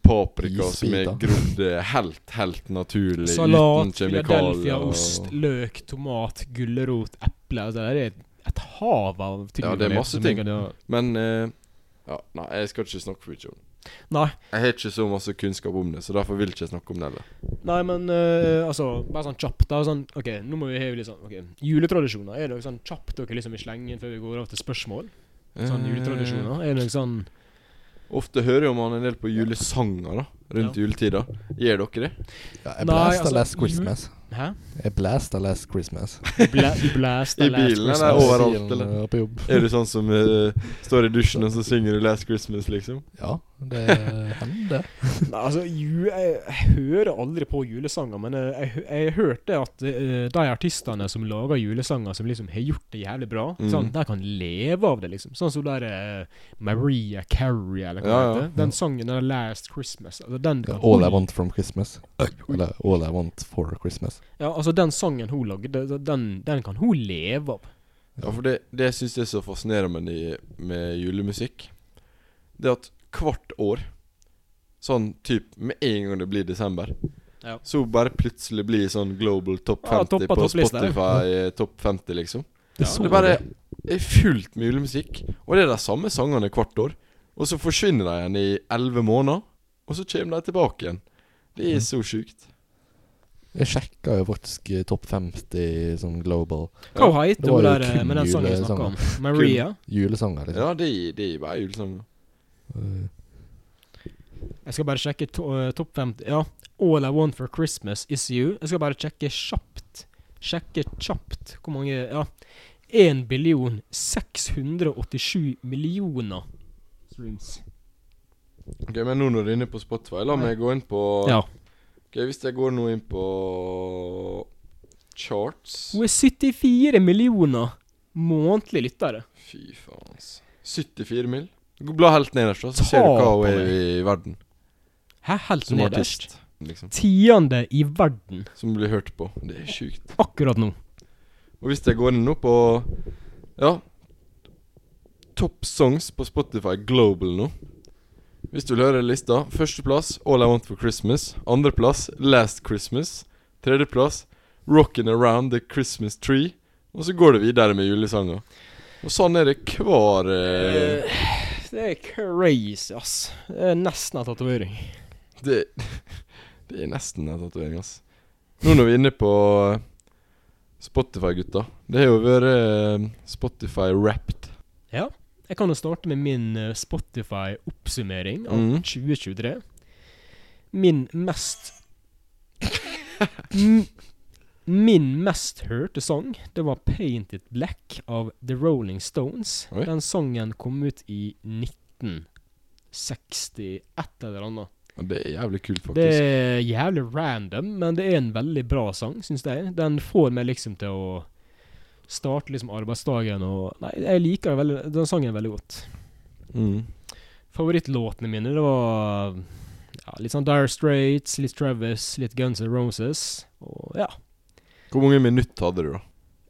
[SPEAKER 3] Paprika som er
[SPEAKER 1] Isbiter.
[SPEAKER 3] grodd eh, helt, helt naturlig
[SPEAKER 2] Salat,
[SPEAKER 3] uten kjemikalier.
[SPEAKER 2] Philadelphia, ost, løk, tomat, gulrot, eple altså, Det er et hav av ting.
[SPEAKER 3] Ja,
[SPEAKER 2] du
[SPEAKER 3] det er
[SPEAKER 2] kan ete
[SPEAKER 3] masse
[SPEAKER 2] som
[SPEAKER 3] ting.
[SPEAKER 2] jeg kan-
[SPEAKER 3] Men eh, ja, Nei, jeg skal ikke snakke for mye om det.
[SPEAKER 2] Nei.
[SPEAKER 3] Jeg har ikke så masse kunnskap om det, så derfor vil jeg ikke snakke om det heller.
[SPEAKER 2] Nei, men eh, altså, bare sånn kjapt. da, sånn, ok, Nå må vi heve litt sånn ok, Juletradisjoner. Er det noe sånn kjapt dere liksom vil slenge inn før vi går over til spørsmål? Sånn juletradisjoner? Er det noe sånn
[SPEAKER 3] Eh, Ofte hører jo man en del på julesanger da rundt juletida. Gjør dere det?
[SPEAKER 1] Ja, jeg
[SPEAKER 2] Nei,
[SPEAKER 1] blæsta
[SPEAKER 2] altså,
[SPEAKER 1] Last
[SPEAKER 2] jul-
[SPEAKER 1] Christmas.
[SPEAKER 2] Hæ?
[SPEAKER 1] Jeg blæsta Last Christmas.
[SPEAKER 2] Bla, blast,
[SPEAKER 3] I
[SPEAKER 2] last
[SPEAKER 3] bilen,
[SPEAKER 2] Christmas.
[SPEAKER 3] eller overalt,
[SPEAKER 1] Sier han,
[SPEAKER 3] eller?
[SPEAKER 1] eh, På jobb.
[SPEAKER 3] Er du sånn som eh, står i dusjen og så synger du 'Last Christmas', liksom?
[SPEAKER 1] Ja, det hender.
[SPEAKER 2] Nei, altså, ju, jeg, jeg hører aldri på julesanger, men eh, jeg, hø- jeg hørte at eh, de artistene som lager julesanger, som liksom har gjort det jævlig bra,
[SPEAKER 3] Mm.
[SPEAKER 2] sånn, de kan leve av det, liksom. Sånn som der eh, Maria Carey, eller hva
[SPEAKER 3] Ja,
[SPEAKER 2] det
[SPEAKER 3] ja.
[SPEAKER 2] heter. Den sangen der Last Christmas. Altså, den,
[SPEAKER 1] Ja,
[SPEAKER 2] kan-
[SPEAKER 1] all I Want From Christmas. Eller All I Want For Christmas.
[SPEAKER 2] Ja, altså, den sangen hun lagde, den, den kan hun leve av.
[SPEAKER 3] Ja, for det, det syns jeg er så fascinerende med, de- med julemusikk. Det at hvert år, sånn typ med en gang det blir desember,
[SPEAKER 2] Ja.
[SPEAKER 3] så bare plutselig blir sånn global topp
[SPEAKER 2] Ja,
[SPEAKER 3] 50
[SPEAKER 2] toppa
[SPEAKER 3] på
[SPEAKER 2] topplista, ja.
[SPEAKER 3] Spotify, eh, topp 50, liksom.
[SPEAKER 2] Ja,
[SPEAKER 1] så
[SPEAKER 3] Det bare er fullt med julemusikk, og det er de samme sangene hvert år. Og så forsvinner de igjen i elleve måneder, og så kommer de tilbake igjen. Det er så sjukt.
[SPEAKER 1] Jeg sjekka jo faktisk eh, topp 50 sånn global
[SPEAKER 2] Hva
[SPEAKER 3] Ja.
[SPEAKER 1] Det
[SPEAKER 2] heter
[SPEAKER 1] var
[SPEAKER 2] hun
[SPEAKER 1] jo
[SPEAKER 2] der eh,
[SPEAKER 1] kun
[SPEAKER 2] med den sangen jeg snakka om? Maria?
[SPEAKER 1] julesanger, liksom.
[SPEAKER 3] Ja, det er, det er bare julesanger.
[SPEAKER 1] Eh,
[SPEAKER 2] Jeg skal bare sjekke to, eh, topp 50 Ja. All I want for Christmas is you. Jeg skal bare sjekke kjapt. Sjekke kjapt hvor mange Ja. 1 billion 687 millioner streams.
[SPEAKER 3] Ok, Men nå når du er inne på Spotify, la meg gå inn på
[SPEAKER 2] Ja.
[SPEAKER 3] Ok, Hvis jeg går nå inn på charts
[SPEAKER 2] Hun er 74 millioner månedlige lyttere.
[SPEAKER 3] Fy faen, altså. 74 mil. Gå- Bla helt nederst, da, så ser du hva
[SPEAKER 2] Ta på
[SPEAKER 3] hun er
[SPEAKER 2] meg.
[SPEAKER 3] i verden.
[SPEAKER 2] Hæ, helt
[SPEAKER 3] Som
[SPEAKER 2] nederst.
[SPEAKER 3] artist, liksom.
[SPEAKER 2] Tiende i verden
[SPEAKER 3] Som blir hørt på. Det er sjukt.
[SPEAKER 2] akkurat nå.
[SPEAKER 3] Og hvis jeg går inn nå på Ja. Top songs på Spotify Global nå. Hvis du vil høre lista Førsteplass All I Want For Christmas. Andreplass Last Christmas. Tredjeplass 'Rockin' Around the Christmas Tree', og så går det videre med julesanger. Og sånn er det hver eh,
[SPEAKER 2] Det er crazy, ass. Det er nesten en tatovering.
[SPEAKER 3] det, det er nesten en tatovering, ass. Nå når vi er inne på Spotify, gutta. Det har jo vært eh, Spotify Wrapped.
[SPEAKER 2] Ja. Jeg kan jo starte med min eh, Spotify-oppsummering av
[SPEAKER 3] Mhm.
[SPEAKER 2] 2023. Min mest M- Min mest hørte sang, det var 'Painted Black' av The Rolling Stones.
[SPEAKER 3] Oi.
[SPEAKER 2] Den sangen kom ut i 1960 et eller annet.
[SPEAKER 3] Og det er jævlig kult, faktisk.
[SPEAKER 2] Det er jævlig random, men det er en veldig bra sang, syns jeg. Den får meg liksom til å starte liksom arbeidsdagen og Nei, jeg liker den veldig, den sangen veldig godt.
[SPEAKER 3] Mm.
[SPEAKER 2] Favorittlåtene mine, det var ja, litt sånn Dire Straits, litt Travis, litt Guns N' Roses. Og ja.
[SPEAKER 3] Hvor mange minutter hadde du, da?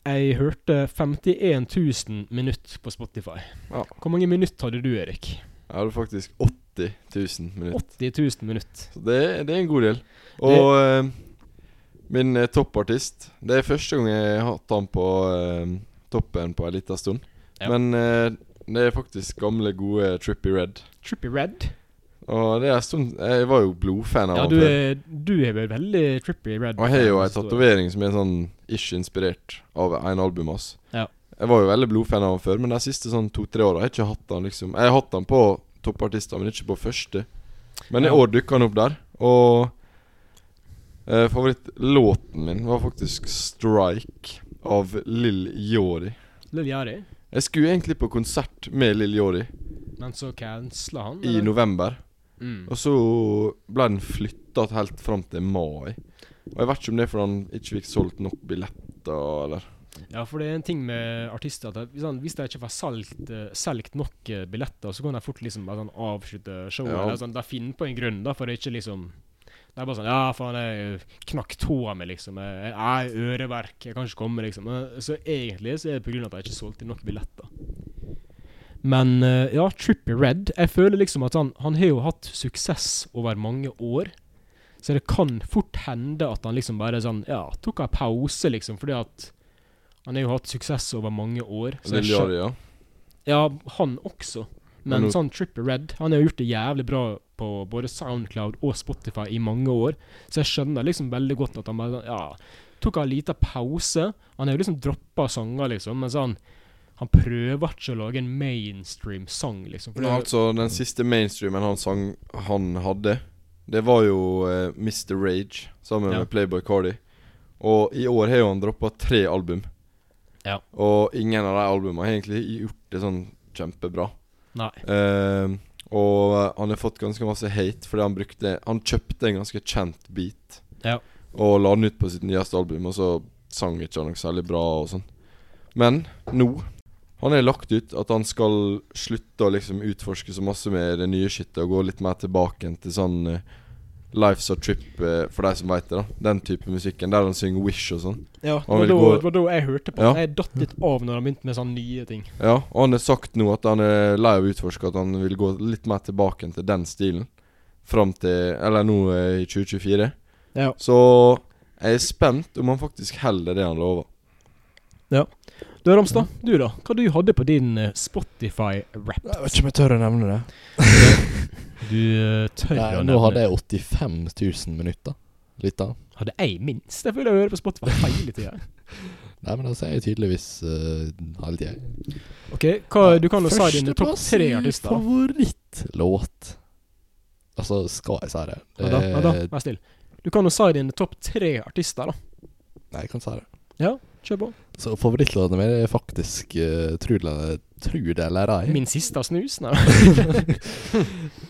[SPEAKER 2] Jeg hørte 51 000 minutt på Spotify.
[SPEAKER 3] Ja.
[SPEAKER 2] Hvor mange minutt hadde du, Erik?
[SPEAKER 3] Jeg hadde faktisk 80 000 minutter.
[SPEAKER 2] 80 000 minutt.
[SPEAKER 3] Så det, det er en god del. Og eh, min eh, toppartist Det er første gang jeg har hatt han på eh, toppen på en liten stund.
[SPEAKER 2] Ja.
[SPEAKER 3] Men eh, det er faktisk gamle, gode Trippy Red.
[SPEAKER 2] Trippy Red.
[SPEAKER 3] Og det er en stund Jeg var jo blodfan av
[SPEAKER 2] Ja,
[SPEAKER 3] han
[SPEAKER 2] du
[SPEAKER 3] før.
[SPEAKER 2] er, du er vel veldig Trippy Red.
[SPEAKER 3] Og jeg har jo
[SPEAKER 2] forstår
[SPEAKER 3] ei
[SPEAKER 2] jeg.
[SPEAKER 3] tatovering som er sånn ish inspirert av en album hans.
[SPEAKER 2] Ja.
[SPEAKER 3] Jeg var jo veldig blodfan av han før, men de siste sånn to-tre åra har jeg ikke hatt han liksom Jeg har hatt han på toppartister, men ikke på første. Men i
[SPEAKER 2] Ja.
[SPEAKER 3] år dukka han opp der, og eh, favorittlåten min var faktisk 'Strike' av Lill Yori.
[SPEAKER 2] Lill Jari.
[SPEAKER 3] Jeg skulle egentlig på konsert med Lill Yori
[SPEAKER 2] Men så cancela han?
[SPEAKER 3] i
[SPEAKER 2] eller?
[SPEAKER 3] november,
[SPEAKER 2] Mm.
[SPEAKER 3] og så ble den flytta helt fram til mai. Og jeg vet ikke om det er fordi han ikke fikk solgt nok billetter, eller
[SPEAKER 2] Ja, for det er en ting med artister at hvis han- hvis de ikke får solgt, eh, solgt nok eh, billetter, så kan de fort liksom bare sånn avslutte showet.
[SPEAKER 3] Ja.
[SPEAKER 2] Eller sånn, de finner på en grunn da, for det er ikke liksom Det er bare sånn Ja, faen, jeg eh, knakk tåa mi, liksom. Jeg har øreverk. Jeg kan ikke komme, liksom. Men, Så egentlig så er det pga. at de ikke solgte nok billetter. Men eh, ja, Trippy Red Jeg føler liksom at han, han har jo hatt suksess over mange år. Så det kan fort hende at han liksom bare sånn Ja, tok en pause, liksom, fordi at han har jo hatt suksess over mange år. Så jeg
[SPEAKER 3] Lille
[SPEAKER 2] skjøn-
[SPEAKER 3] Jari, ja.
[SPEAKER 2] ja, han også. Men
[SPEAKER 3] Men nå-
[SPEAKER 2] sånn Trippy Red Han har gjort det jævlig bra på både Soundcloud og Spotify i mange år. Så jeg skjønner liksom veldig godt at han bare sånn, Ja, tok en liten pause. Han har jo liksom droppa sanger, liksom, men sånn Han prøver ikke å lage en mainstream sang, liksom. For
[SPEAKER 3] Men
[SPEAKER 2] det-
[SPEAKER 3] altså, den siste mainstreamen han sang han hadde, det var jo eh, Mr. Rage sammen
[SPEAKER 2] Ja.
[SPEAKER 3] med Playboy Cardi. Og i år har jo han droppa tre album.
[SPEAKER 2] Ja.
[SPEAKER 3] Og ingen av de albumene har egentlig gjort det sånn kjempebra.
[SPEAKER 2] Nei.
[SPEAKER 3] Eh, og han har fått ganske masse hate fordi han brukte Han kjøpte en ganske kjent beat
[SPEAKER 2] Ja.
[SPEAKER 3] og la den ut på sitt nyeste album, og så sang ikke han noe særlig bra og sånn. Men nå Han har lagt ut at han skal slutte å liksom utforske så masse med det nye skittet og gå litt mer tilbake igjen til sånn eh, Life's a trip, eh, for de som veit det, da. Den type musikken der han synger Wish og sånn.
[SPEAKER 2] Ja, det
[SPEAKER 3] Han
[SPEAKER 2] var,
[SPEAKER 3] vil
[SPEAKER 2] da,
[SPEAKER 3] gå-
[SPEAKER 2] det var da jeg hørte på.
[SPEAKER 3] Ja.
[SPEAKER 2] Jeg datt litt av når han begynte med sånne nye ting.
[SPEAKER 3] Ja, og han har sagt nå at han er lei av å utforske at han vil gå litt mer tilbake igjen til den stilen. Fram til Eller nå eh, i 2024.
[SPEAKER 2] Ja.
[SPEAKER 3] Så jeg er spent om han faktisk holder det han lover.
[SPEAKER 2] Du Ramstad, du da? Hva du hadde på din eh, Spotify-rap?
[SPEAKER 1] Jeg vet ikke om jeg tør å nevne det.
[SPEAKER 2] Du eh, tør
[SPEAKER 1] Nei,
[SPEAKER 2] å
[SPEAKER 1] nå hadde
[SPEAKER 2] nevne
[SPEAKER 1] jeg 85 000 minutter. Litt da.
[SPEAKER 2] Hadde jeg minst? Jeg føler jeg hører på Spotify hele tida.
[SPEAKER 1] Nei, men altså, jeg er tydeligvis eh, hele tida.
[SPEAKER 2] Ok, hva, du kan jo si dine topp
[SPEAKER 1] Førsteplass
[SPEAKER 2] tre
[SPEAKER 1] i
[SPEAKER 2] artister.
[SPEAKER 1] Favorittlåt. Altså, skal jeg si det?
[SPEAKER 2] Ja, da, ja, da,
[SPEAKER 1] Eh,
[SPEAKER 2] vær still. Du kan jo si dine topp tre artister, da.
[SPEAKER 1] Nei, jeg kan si det.
[SPEAKER 2] Ja, kjør på.
[SPEAKER 1] Så favorittlåten min er faktisk uh, Tror det tror det eller ei.
[SPEAKER 2] Min siste snus? Nei.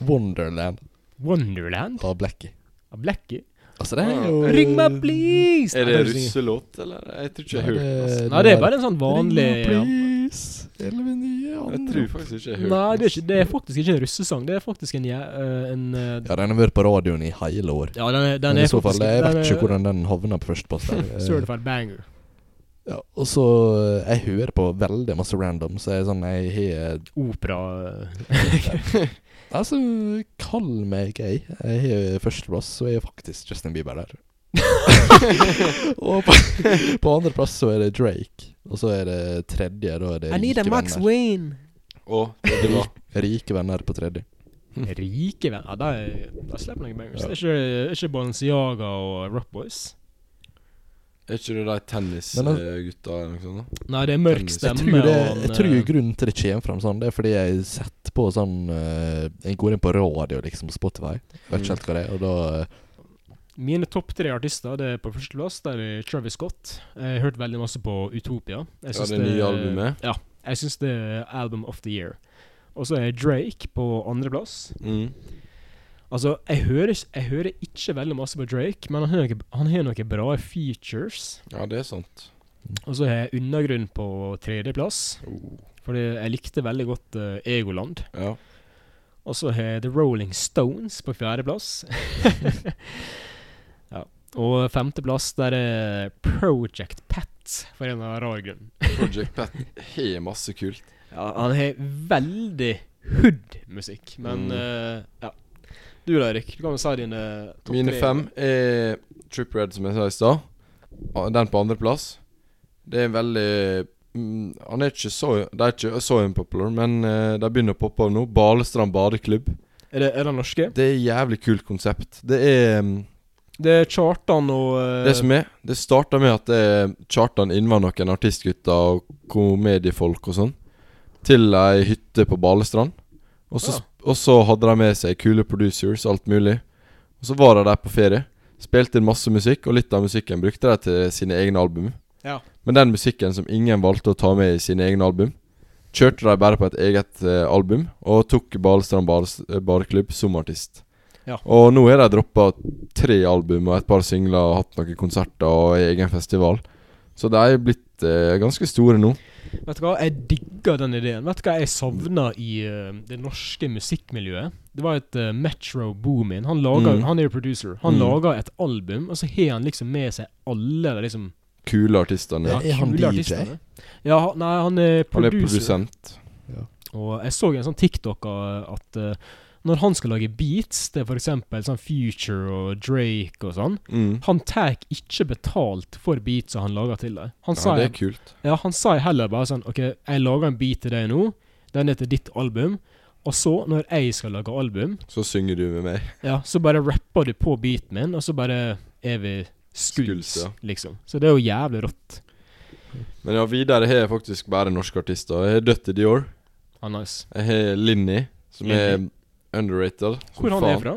[SPEAKER 1] Wonderland
[SPEAKER 2] Wonderland
[SPEAKER 1] av Blackie.
[SPEAKER 2] av Blackie.
[SPEAKER 1] Altså, det er
[SPEAKER 3] Ah.
[SPEAKER 1] jo
[SPEAKER 2] Ring meg, please!
[SPEAKER 3] Er
[SPEAKER 2] Nei, det
[SPEAKER 3] det
[SPEAKER 2] er ikke-
[SPEAKER 3] russelåt, eller? Jeg tror ikke jeg har
[SPEAKER 1] Nei,
[SPEAKER 3] hørt den. altså.
[SPEAKER 2] Nei, det er bare en sånn vanlig
[SPEAKER 1] Ring meg, please. Elleve nye
[SPEAKER 3] Jeg
[SPEAKER 1] andre.
[SPEAKER 3] tror faktisk ikke jeg har hørt
[SPEAKER 2] Nei,
[SPEAKER 3] den,
[SPEAKER 2] det er, ikke, det er faktisk ikke en russesang. Det er faktisk en, jæ- eh, en eh,
[SPEAKER 1] Ja, den har vært på radioen i hele år.
[SPEAKER 2] Ja, den er, den
[SPEAKER 1] Men
[SPEAKER 2] er
[SPEAKER 1] i så fall,
[SPEAKER 2] faktisk-
[SPEAKER 1] jeg
[SPEAKER 2] den
[SPEAKER 1] vet
[SPEAKER 2] er
[SPEAKER 1] ikke hvordan den havna på førsteplass. der. Eh,
[SPEAKER 2] Certified banger.
[SPEAKER 1] ja, og så eh, Jeg hører på veldig masse random, så jeg er sånn Jeg har
[SPEAKER 2] Opera eh,
[SPEAKER 1] Altså, kall meg gay. Jeg har førsteplass, så er faktisk Justin Bieber der. Og på, på andreplass så er det Drake. Og så er det tredje, da er det Rike venner.
[SPEAKER 2] Wayne.
[SPEAKER 3] Og altså. det var
[SPEAKER 1] Rike venner på tredje.
[SPEAKER 2] Rike venner. Ja, de, de slipper noen bangers. Det er ikke, ikke Balenciaga og Rock Boys.
[SPEAKER 3] Er ikke det de
[SPEAKER 1] Men al-
[SPEAKER 3] tennisgutta eller noe sånt? da?
[SPEAKER 2] Nei, det er mørk
[SPEAKER 3] Jeg
[SPEAKER 1] Jeg
[SPEAKER 2] stemme.
[SPEAKER 1] tror, det,
[SPEAKER 2] og
[SPEAKER 1] jeg
[SPEAKER 2] en,
[SPEAKER 1] tror
[SPEAKER 2] eh,
[SPEAKER 1] grunnen til det kommer fram sånn, det er fordi jeg setter på sånn eh, Jeg går inn på radio, liksom, Spotify. Jeg vet ikke helt hva det er. Og da eh,
[SPEAKER 2] Mine topp tre artister det er på førsteplass det er Travis Scott. Jeg har hørt veldig masse på Utopia. Jeg
[SPEAKER 3] Ja,
[SPEAKER 2] syns
[SPEAKER 3] det nye albumet.
[SPEAKER 2] Ja, jeg syns det er Album of the Year. Og så er Drake på andreplass.
[SPEAKER 3] Mm.
[SPEAKER 2] Altså, jeg hører, ikke- jeg hører ikke veldig masse på Drake, men han har noe- han har noen bra features.
[SPEAKER 3] Ja, det er sant.
[SPEAKER 2] Og så har jeg Undergrunn på tredjeplass,
[SPEAKER 3] Oh.
[SPEAKER 2] fordi jeg likte veldig godt eh, Egoland.
[SPEAKER 3] Ja.
[SPEAKER 2] Og så har jeg The Rolling Stones på fjerdeplass. ja. Og femteplass der er Project Pat, for en eller annen rar grunn.
[SPEAKER 3] Project Pat har masse kult.
[SPEAKER 2] Ja, han har veldig hood-musikk, men
[SPEAKER 3] Mm.
[SPEAKER 2] eh, ja. Du da, Erik. Du kan jo si dine topp
[SPEAKER 3] Mine
[SPEAKER 2] tre.
[SPEAKER 3] fem er Trip Red, som jeg sa i stad. Og Den på andreplass. Det er veldig mm, Han er ikke så De er ikke så unpopular, men eh, de begynner å poppe av nå. Balestrand badeklubb.
[SPEAKER 2] Er det, er det norske?
[SPEAKER 3] Det er et jævlig kult konsept. Det er mm,
[SPEAKER 2] Det er Kjartan og eh,
[SPEAKER 3] Det som er Det starta med at det er Kjartan innvar noen artistgutter og komediefolk og sånn til ei hytte på Balestrand. Og så,
[SPEAKER 2] Ja.
[SPEAKER 3] og så hadde de med seg kule producers, alt mulig. Og så var de der på ferie. Spilte inn masse musikk, og litt av musikken brukte de til sine egne album.
[SPEAKER 2] Ja.
[SPEAKER 3] Men den musikken som ingen valgte å ta med i sine egne album, kjørte de bare på et eget eh, album, og tok Balestrand Bales- eh, Bareklubb som artist.
[SPEAKER 2] Ja.
[SPEAKER 3] Og nå har de droppa tre album og et par singler og hatt noen konserter og egen festival. Så de er blitt eh, ganske store nå.
[SPEAKER 2] Vet du hva, jeg digger den ideen. Vet du hva jeg savna i eh, det norske musikkmiljøet? Det var et eh, Metro Boomin. Han, laga,
[SPEAKER 3] Mm.
[SPEAKER 2] han er jo producer. Han
[SPEAKER 3] Mm.
[SPEAKER 2] laga et album, og så har han liksom med seg alle de liksom
[SPEAKER 3] Kule artistene.
[SPEAKER 1] Ja. Er han
[SPEAKER 2] kule
[SPEAKER 1] DJ?
[SPEAKER 2] artistene. Ja, han- nei, han er
[SPEAKER 3] Han er
[SPEAKER 2] producer.
[SPEAKER 3] produsent.
[SPEAKER 2] Og jeg så en sånn TikTok av at eh, når han skal lage beats til f.eks. sånn Future og Drake og sånn,
[SPEAKER 3] Mm.
[SPEAKER 2] han tar ikke betalt for beatsa han lager til deg. Han
[SPEAKER 3] Ja,
[SPEAKER 2] sa
[SPEAKER 3] det er kult.
[SPEAKER 2] Ja, han sa heller bare sånn OK, jeg lager en beat til deg nå. Den er til ditt album. Og så, når jeg skal lage album,
[SPEAKER 3] Så synger du med meg.
[SPEAKER 2] ja, så bare rapper du på beaten min, og så bare er vi skuls,
[SPEAKER 3] Skuls, ja.
[SPEAKER 2] liksom. Så det er jo jævlig rått.
[SPEAKER 3] Men ja, videre har jeg faktisk bare norske artister. Jeg har Dutty Dior.
[SPEAKER 2] Ah, nice.
[SPEAKER 3] Jeg har Linni, som
[SPEAKER 2] Linni.
[SPEAKER 3] er underrated. som
[SPEAKER 2] Hvor han
[SPEAKER 3] faen.
[SPEAKER 2] er fra?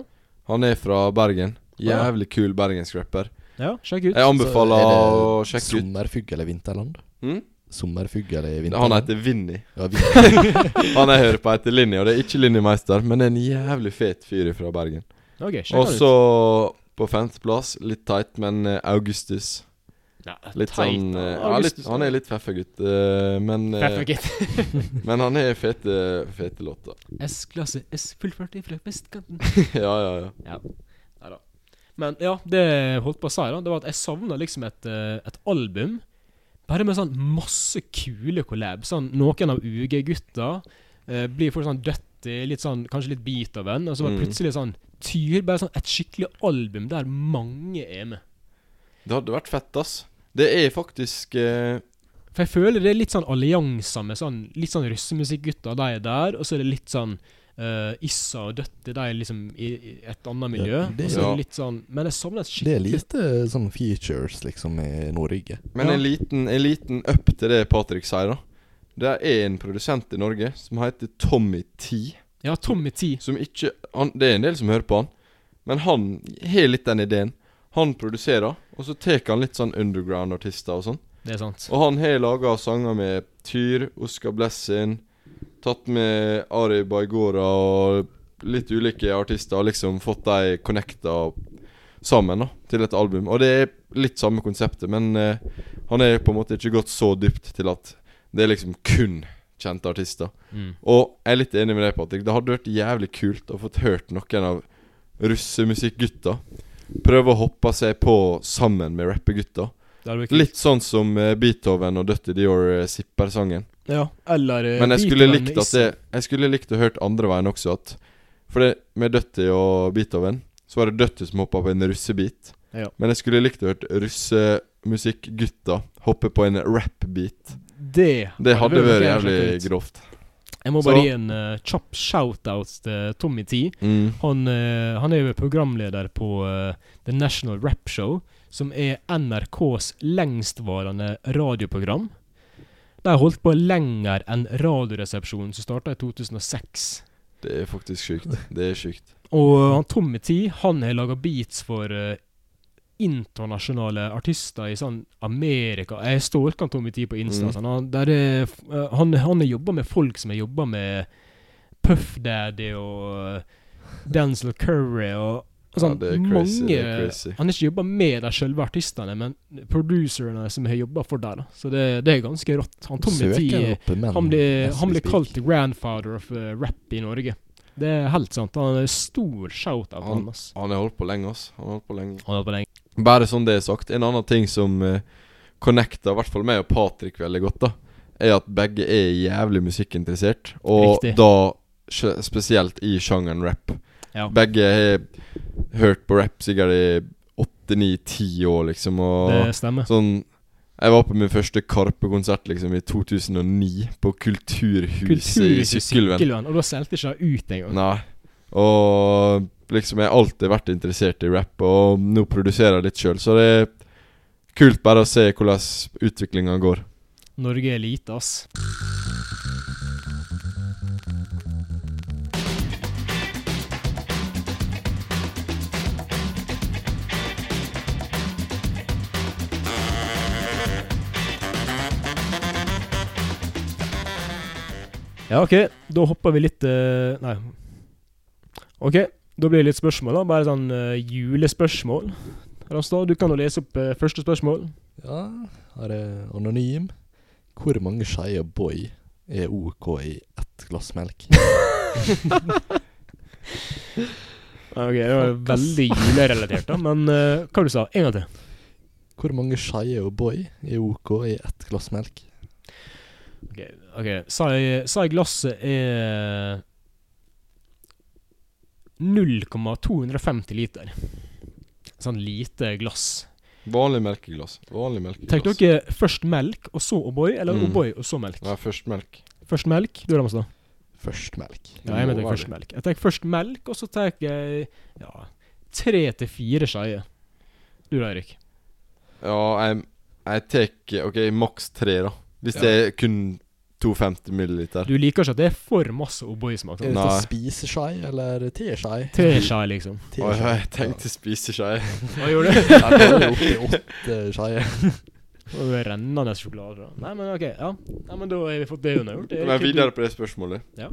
[SPEAKER 3] Han er fra Bergen.
[SPEAKER 2] ja.
[SPEAKER 3] Jævlig kul bergensk rapper.
[SPEAKER 2] Ja, sjekk ut.
[SPEAKER 3] Jeg
[SPEAKER 1] så
[SPEAKER 3] anbefaler
[SPEAKER 1] er
[SPEAKER 3] å
[SPEAKER 1] det
[SPEAKER 3] sjekke ut.
[SPEAKER 1] Sommerfugl eller vinterland?
[SPEAKER 3] Mm?
[SPEAKER 1] Sommerfugl eller
[SPEAKER 3] Han
[SPEAKER 1] vinterland?
[SPEAKER 3] heter Vinni.
[SPEAKER 1] ja, vi-
[SPEAKER 3] Han jeg hører på heter Linni, og det er ikke Linni Meister, men en jævlig fet fyr fra Bergen.
[SPEAKER 2] Ok, sjekk
[SPEAKER 3] Og
[SPEAKER 2] han
[SPEAKER 3] så
[SPEAKER 2] ut.
[SPEAKER 3] på femteplass, litt teit, men eh, Augustus.
[SPEAKER 2] Ja,
[SPEAKER 3] Litt
[SPEAKER 2] teit,
[SPEAKER 3] sånn eh,
[SPEAKER 2] da.
[SPEAKER 3] ja, litt,
[SPEAKER 2] Augustus,
[SPEAKER 3] Han er litt feffa gutt, eh, men, eh,
[SPEAKER 2] Perfekt, gitt.
[SPEAKER 3] men han eh, har fete, fete låter.
[SPEAKER 2] S-klasse S fullførte fra vestkanten.
[SPEAKER 3] ja, ja, ja.
[SPEAKER 2] Ja. Neida. Men ja, det jeg holdt på å si, da, det var at jeg savna liksom et, eh, et album bare med sånn masse kule collabs. Sånn, noen av UG-gutta eh, blir for sånn døttig, litt sånn, kanskje litt Beethoven, og så bare
[SPEAKER 3] Mm.
[SPEAKER 2] plutselig sånn tyr, bare sånn et skikkelig album der mange er med.
[SPEAKER 3] Det hadde vært fett, ass. Det er faktisk eh,
[SPEAKER 2] For jeg føler det er litt sånn allianser med sånn litt sånn russemusikkgutta, de er der, og så er det litt sånn eh, Issa og Døtte, de er liksom i, i et annet miljø.
[SPEAKER 1] Ja, det-
[SPEAKER 2] og så er
[SPEAKER 3] Ja.
[SPEAKER 2] det litt sånn Men jeg savner
[SPEAKER 1] det
[SPEAKER 2] et
[SPEAKER 1] er
[SPEAKER 2] skikkelig
[SPEAKER 1] lite sånn features, liksom, i Norge.
[SPEAKER 3] Men
[SPEAKER 2] Ja.
[SPEAKER 3] en, liten, en liten up til det Patrick sier, da. Det er en produsent i Norge som heter Tommy T.
[SPEAKER 2] Ja, Tommy T.
[SPEAKER 3] Som ikke han, Det er en del som hører på han, men han har litt den ideen. Han produserer, og så tar han litt sånn underground-artister og sånn.
[SPEAKER 2] Det er sant.
[SPEAKER 3] Og han har laga sanger med Tyr, Oscar Blessin, tatt med Ari Baigora og litt ulike artister, og liksom fått de connecta sammen da, til et album. Og det er litt samme konseptet, men eh, han er på en måte ikke gått så dypt til at det er liksom kun kjente artister.
[SPEAKER 2] Mm.
[SPEAKER 3] Og jeg er litt enig med deg, Patrick. Det hadde vært jævlig kult å fått hørt noen av russemusikkgutta prøve å hoppe seg på sammen med rappegutta.
[SPEAKER 2] Det hadde vært kult.
[SPEAKER 3] Litt sånn som eh, Beethoven og Dutty Dior eh, Zipper-sangen.
[SPEAKER 2] Ja, eller eh,
[SPEAKER 3] Men jeg skulle
[SPEAKER 2] Beethoven
[SPEAKER 3] likt
[SPEAKER 2] med
[SPEAKER 3] at det Jeg skulle likt å hørt andre veien også, at For det, med Dutty og Beethoven, så var det Dutty som hoppa på en russebit,
[SPEAKER 2] Ja.
[SPEAKER 3] Men jeg skulle likt å hørt russemusikkgutta hoppe på en rap-beat.
[SPEAKER 2] Det,
[SPEAKER 3] Det hadde vært jævlig
[SPEAKER 2] greit.
[SPEAKER 3] grovt.
[SPEAKER 2] Jeg må bare
[SPEAKER 3] Så-
[SPEAKER 2] gi en eh, kjapp shout-out til Tommy T.
[SPEAKER 3] Mm.
[SPEAKER 2] Han, eh, han er jo programleder på eh, The National Rap Show, som er NRKs lengstvarende radioprogram. De har holdt på lenger enn Radioresepsjonen, som starta i 2006.
[SPEAKER 3] Det er faktisk sjukt. Det er sjukt.
[SPEAKER 2] Og han Tommy T, han har laga beats for eh, internasjonale artister i sånn Amerika. Jeg stalker han Tommy T på Insta.
[SPEAKER 3] Mm.
[SPEAKER 2] Sånn. Han, der er, f- eh, han, han har jobba med folk som har jobba med Puff Daddy og uh, Denzil Curry og og sånn,
[SPEAKER 3] Ja, det er crazy,
[SPEAKER 2] mange,
[SPEAKER 3] det er crazy.
[SPEAKER 2] Han har ikke jobba med de selve artistene, men producerne som har jobba for dem. da. Så det, det er ganske rått. Han Tommy T
[SPEAKER 1] Søker opp menn.
[SPEAKER 2] han blir,
[SPEAKER 1] as
[SPEAKER 2] han
[SPEAKER 1] we
[SPEAKER 2] blir
[SPEAKER 1] speak.
[SPEAKER 2] kalt the grandfather of eh, rap i Norge. Det er helt sant. Han er stor shout av han, ass.
[SPEAKER 3] Han har holdt på lenge, ass. Han har holdt på lenge.
[SPEAKER 2] Han er på den.
[SPEAKER 3] Bare sånn det er sagt. En annen ting som eh, connecter i hvert fall meg og Patrick veldig godt, da, er at begge er jævlig musikkinteressert. Og
[SPEAKER 2] Riktig.
[SPEAKER 3] da sj- spesielt i sjangeren rap.
[SPEAKER 2] Ja.
[SPEAKER 3] Begge har hørt på rap sikkert i åtte, ni, ti år, liksom. Og
[SPEAKER 2] Det stemmer.
[SPEAKER 3] sånn Jeg var på min første Karpe-konsert liksom i 2009, på Kulturhuset i
[SPEAKER 2] Kulturhuset i
[SPEAKER 3] Sykkylven.
[SPEAKER 2] Sykkylven. Og da solgte ikke det ut engang.
[SPEAKER 3] Nei. Og liksom, jeg har alltid vært interessert i rap, og nå produserer jeg litt sjøl, så det er kult bare å se hvordan utviklinga går.
[SPEAKER 2] Norge er lite, ass. Ja, OK. Da hopper vi litt eh, Nei. OK, da blir det litt spørsmål, da. Bare sånn eh, julespørsmål. Ramstad, du kan jo lese opp eh, første spørsmål.
[SPEAKER 1] Ja, her er anonym. Hvor mange skeier boy er OK i ett glass melk?
[SPEAKER 2] Ja, Ok, det var veldig julerelatert, da. Men eh, hva du sa du? En gang til.
[SPEAKER 1] Hvor mange skeier og boy er OK i ett glass melk?
[SPEAKER 2] Ok, ok. Sa jeg, sa jeg glasset er 0,250 liter. Sånn lite glass.
[SPEAKER 3] Vanlig melkeglass. Vanlig melkeglass.
[SPEAKER 2] Tenk dere først melk, og så O'boy, eller
[SPEAKER 3] Mm.
[SPEAKER 2] O'boy og så melk?
[SPEAKER 3] Nei, først melk.
[SPEAKER 2] Først melk, du Ramstad?
[SPEAKER 1] Først melk.
[SPEAKER 2] Ja, jeg mener
[SPEAKER 3] Må
[SPEAKER 2] først melk. Jeg tar først melk, og så tar jeg ja, tre til fire skeier. Du da, Eirik?
[SPEAKER 3] Ja, jeg, jeg tar OK, maks tre, da. Hvis
[SPEAKER 2] Ja.
[SPEAKER 3] det er kun 250 milliliter.
[SPEAKER 2] Du liker ikke at det er for masse O'boy-smak?
[SPEAKER 1] Er
[SPEAKER 2] sant?
[SPEAKER 1] dette
[SPEAKER 3] Nei.
[SPEAKER 1] spiseskei eller teskei?
[SPEAKER 2] Tre skeier, liksom.
[SPEAKER 1] Teskei.
[SPEAKER 3] Oi, jeg tenkte spiseskje.
[SPEAKER 2] Hva gjorde du?
[SPEAKER 1] Ja, det er jo opp til åtte skeier.
[SPEAKER 2] Og rennende sjokolade. da. Nei, men ok, ja. Nei, men da har vi fått det unnagjort. Erik,
[SPEAKER 3] Men
[SPEAKER 2] du-
[SPEAKER 3] videre på det spørsmålet.
[SPEAKER 2] Ja.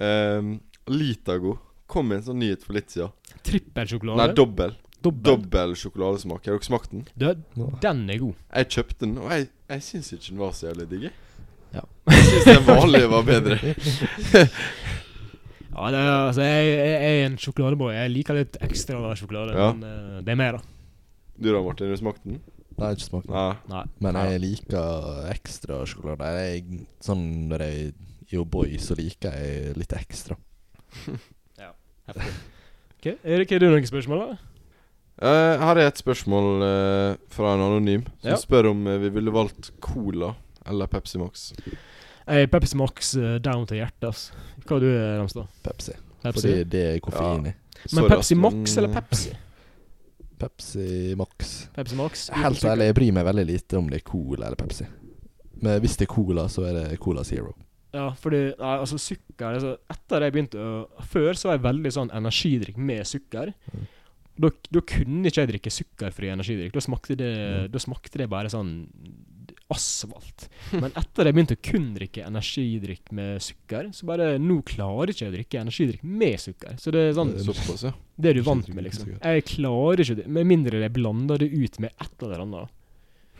[SPEAKER 3] Ehm, Litago kom med en sånn nyhet for litt siden.
[SPEAKER 2] Trippelsjokolade.
[SPEAKER 3] Nei, dobbel.
[SPEAKER 2] Dobbel.
[SPEAKER 3] Dobbel sjokoladesmak. Har dere smakt den?
[SPEAKER 2] Du, den er god.
[SPEAKER 3] Jeg kjøpte den, og jeg, jeg syns ikke den var så jævlig digg. jeg.
[SPEAKER 1] Ja.
[SPEAKER 3] Jeg syns den vanlige var bedre.
[SPEAKER 2] Ja, det er, altså, jeg, jeg jeg er en sjokoladeboy. Jeg liker litt ekstra av sjokolade,
[SPEAKER 3] Ja.
[SPEAKER 2] men eh, det er mer, da.
[SPEAKER 3] Du da, Martin? Har du smakt den?
[SPEAKER 1] Nei, ikke smakt.
[SPEAKER 3] Nei.
[SPEAKER 2] Nei.
[SPEAKER 1] Men jeg liker ekstra sjokolade. Jeg, sånn når jeg er boy, så liker jeg litt ekstra.
[SPEAKER 2] Heftig. Ok, Erik, har du noen spørsmål, da?
[SPEAKER 3] Eh, her er et spørsmål eh, fra en anonym som
[SPEAKER 2] Ja.
[SPEAKER 3] spør om eh, vi ville valgt Cola eller Pepsi Max.
[SPEAKER 2] Jeg er Pepsi Max eh, down til hjertet, ass. Hva er du, Ramstad?
[SPEAKER 1] Pepsi.
[SPEAKER 2] Pepsi?
[SPEAKER 1] Fordi det er koffein i.
[SPEAKER 2] men
[SPEAKER 3] Sorry,
[SPEAKER 2] Pepsi
[SPEAKER 3] ass,
[SPEAKER 2] Max
[SPEAKER 3] men-
[SPEAKER 2] eller Pepsi?
[SPEAKER 1] Pepsi Max.
[SPEAKER 2] Pepsi Max?
[SPEAKER 1] Helt ærlig, jeg bryr meg veldig lite om det er Cola eller Pepsi. Men hvis det er Cola, så er det Cola Zero.
[SPEAKER 2] Ja, fordi nei, altså sukker altså, Etter jeg begynte å Før så var jeg veldig sånn energidrikk med sukker.
[SPEAKER 1] Mm.
[SPEAKER 2] Da, da kunne ikke jeg drikke sukkerfri energidrikk. Da smakte det, da smakte det bare sånn asfalt. Men etter jeg begynte å kun drikke energidrikk med sukker, så bare Nå klarer ikke jeg å drikke energidrikk med sukker. Så det er sånn
[SPEAKER 3] Eh, Såpass, ja.
[SPEAKER 2] Det er du vant med, liksom. Jeg klarer ikke det. Med mindre jeg blander det ut med et eller annet.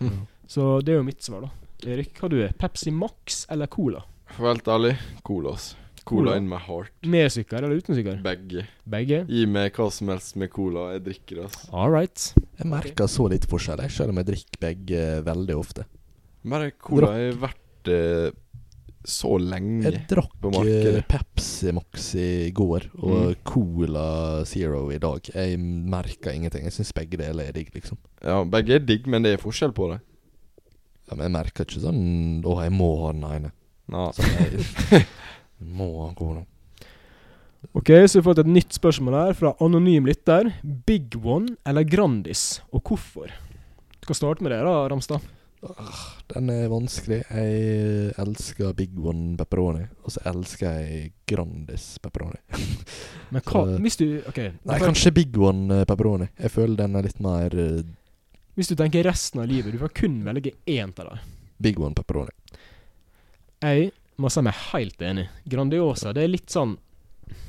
[SPEAKER 2] da.
[SPEAKER 3] Mm.
[SPEAKER 2] Så det er jo mitt svar, da. Erik, hva du er Pepsi Max eller Cola?
[SPEAKER 3] For å være helt ærlig, Cola, ass.
[SPEAKER 2] Cola.
[SPEAKER 3] Cola in my heart.
[SPEAKER 2] Med sukker eller uten sukker?
[SPEAKER 3] Begge.
[SPEAKER 2] Begge.
[SPEAKER 3] Gi meg hva som helst med cola. Jeg drikker det, ass.
[SPEAKER 2] All right.
[SPEAKER 1] Jeg merker så litt forskjell, eh, jeg, selv om jeg drikker begge veldig ofte.
[SPEAKER 3] Bare cola har vært eh, så lenge
[SPEAKER 1] Jeg drakk
[SPEAKER 3] på markedet. Mm.
[SPEAKER 1] eh, Pepsi Max i går og Cola Zero i dag. Jeg merka ingenting. Jeg syns begge deler er digg, liksom.
[SPEAKER 3] Ja, Begge er digg, men det er forskjell på det.
[SPEAKER 1] Ja, men jeg merker ikke sånn Å, jeg må ha den ene.
[SPEAKER 3] Ja.
[SPEAKER 1] Sånn, jeg må ha Cola.
[SPEAKER 2] Ok, så vi har fått et nytt spørsmål her fra anonym lytter. Big One eller Grandis, og hvorfor? Du kan starte med det da, Ramstad.
[SPEAKER 1] Den er vanskelig. Jeg elsker Big One pepperoni, og så elsker jeg Grandis pepperoni.
[SPEAKER 2] Men hva
[SPEAKER 1] Eh,
[SPEAKER 2] Hvis du ok,
[SPEAKER 1] Nei, kanskje Big One eh, pepperoni. Jeg føler den er litt mer eh,
[SPEAKER 2] hvis du tenker resten av livet, du kan kun velge én av dem.
[SPEAKER 1] Big One pepperoni.
[SPEAKER 2] Jeg må si meg helt enig. Grandiosa, det er litt sånn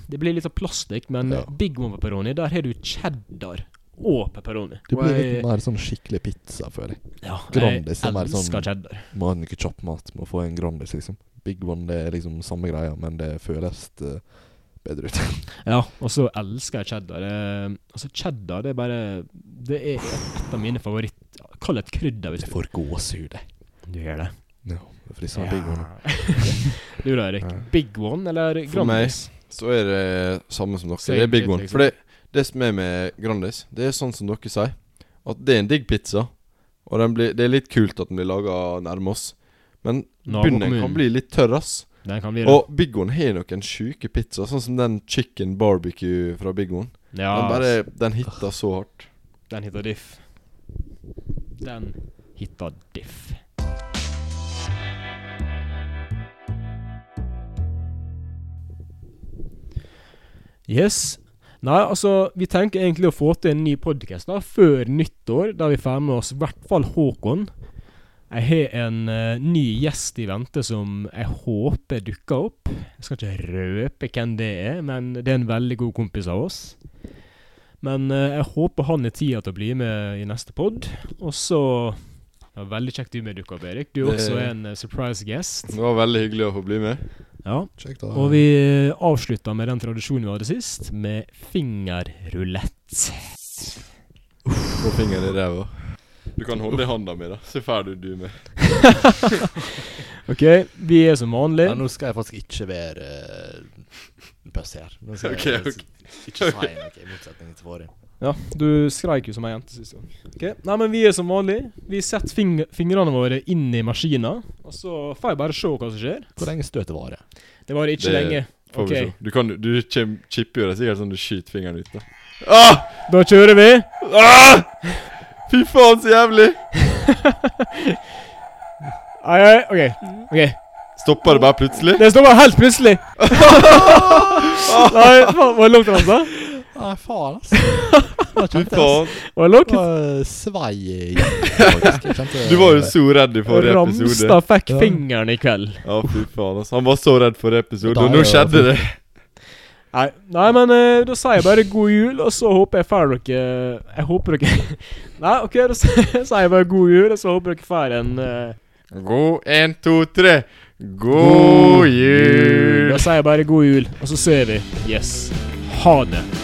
[SPEAKER 2] Det blir litt av plastikk, men
[SPEAKER 1] Ja.
[SPEAKER 2] Big One pepperoni, der har du cheddar og pepperoni.
[SPEAKER 1] Det
[SPEAKER 2] Og
[SPEAKER 1] blir
[SPEAKER 2] jeg-
[SPEAKER 1] litt mer sånn skikkelig pizza, føler jeg.
[SPEAKER 2] Ja,
[SPEAKER 1] Grandis
[SPEAKER 2] jeg
[SPEAKER 1] er mer
[SPEAKER 2] elsker
[SPEAKER 1] sånn-
[SPEAKER 2] cheddar.
[SPEAKER 1] Må ha en ketsjupmat, må få en Grandis, liksom. Big One det er liksom samme greia, men det føles eh, bedre ut.
[SPEAKER 2] Ja, og så elsker jeg cheddar. Eh, Altså, cheddar det er bare Det er et av mine favoritt... Kall det et krydder hvis
[SPEAKER 1] Jeg
[SPEAKER 2] du
[SPEAKER 1] får gåsehud, jeg.
[SPEAKER 2] Du gjør det.
[SPEAKER 1] Ja, frisa Big One.
[SPEAKER 2] du da, Erik.
[SPEAKER 3] Ja.
[SPEAKER 2] Big One eller
[SPEAKER 3] For meg
[SPEAKER 2] Grandis?
[SPEAKER 3] Så er det samme som dere.
[SPEAKER 2] Så
[SPEAKER 3] det er Big
[SPEAKER 2] enkelt,
[SPEAKER 3] One.
[SPEAKER 2] liksom.
[SPEAKER 3] For det, det som er med Grandis, det er sånn som dere sier, at det er en digg pizza. Og den blir, det er litt kult at den blir laga nærme oss. Men bunnen
[SPEAKER 2] Nabokommunen.
[SPEAKER 3] kan bli litt tørr, ass.
[SPEAKER 2] Den kan bli det.
[SPEAKER 3] Og Big One har noen sjuke pizzaer, sånn som den chicken barbecue fra Big One.
[SPEAKER 2] Ja,
[SPEAKER 3] Den bare Den hitter så hardt.
[SPEAKER 2] Den heter Diff. Den heter Diff. Yes. Nei, altså, vi tenker egentlig å få til en ny podkast før nyttår, der vi får med oss i hvert fall Håkon. Jeg har en eh, ny gjest i vente som jeg håper dukker opp. Jeg skal ikke røpe hvem det er, men det er en veldig god kompis av oss. Men eh, jeg håper han er tida til å bli med i neste pod. Og så ja, Veldig kjekt du med dukker opp, Erik. Du er
[SPEAKER 3] Det-
[SPEAKER 2] også en eh, surprise guest.
[SPEAKER 3] Det var veldig hyggelig å få bli med.
[SPEAKER 2] Ja.
[SPEAKER 1] Kjekt å ha
[SPEAKER 2] Og vi avslutta med den tradisjonen vi hadde sist, med fingerrulett.
[SPEAKER 3] Få fingeren i ræva. Du kan holde i handa mi, da. Så ferdig du med.
[SPEAKER 2] OK, vi er som vanlig.
[SPEAKER 1] Ja, nå skal jeg faktisk ikke være uh, her. Nå skal
[SPEAKER 3] Ok,
[SPEAKER 1] jeg
[SPEAKER 3] ok.
[SPEAKER 1] s- ikke si noe i motsetning til forrige.
[SPEAKER 2] Ja, du skreik jo som ei jente sist gang. Ok, Nei, men vi er som vanlig. Vi setter fing fingrene våre inn i maskina, og så får jeg bare se hva som skjer.
[SPEAKER 1] Hvor lenge støtet varer?
[SPEAKER 2] Det varer ikke
[SPEAKER 3] Det
[SPEAKER 2] lenge.
[SPEAKER 3] Får
[SPEAKER 2] OK,
[SPEAKER 3] vi se. Du, kan, du kjem, chipper jo deg sikkert sånn du skyter fingeren ut. da. Ah!
[SPEAKER 2] da kjører vi.
[SPEAKER 3] Ah! Fy faen, så jævlig!
[SPEAKER 2] Ai, ai, OK. ok.
[SPEAKER 3] Stoppa det bare plutselig?
[SPEAKER 2] Det stoppa helt plutselig. Nei, faen, var det langt, altså?
[SPEAKER 1] Nei, faen, altså.
[SPEAKER 3] Fy faen.
[SPEAKER 2] Var det langt?
[SPEAKER 1] var svei i faktisk. Jeg kjente
[SPEAKER 3] Du var jo så redd i forrige episode.
[SPEAKER 2] Ramstad fikk
[SPEAKER 1] Ja.
[SPEAKER 2] fingeren i kveld.
[SPEAKER 3] Ja, fy faen. ass. Han var så redd forrige episode,
[SPEAKER 1] Da
[SPEAKER 3] og
[SPEAKER 1] er
[SPEAKER 3] nå
[SPEAKER 1] det-
[SPEAKER 3] skjedde det.
[SPEAKER 2] Nei, nei men eh, da sier jeg bare god jul, og så håper jeg får dere Jeg håper dere Nei, OK, da s- sier jeg bare god jul, og så håper dere får en eh,
[SPEAKER 3] God én, to, tre. God jul.
[SPEAKER 2] Da sier jeg bare god jul, og så ser vi. Yes. Ha det.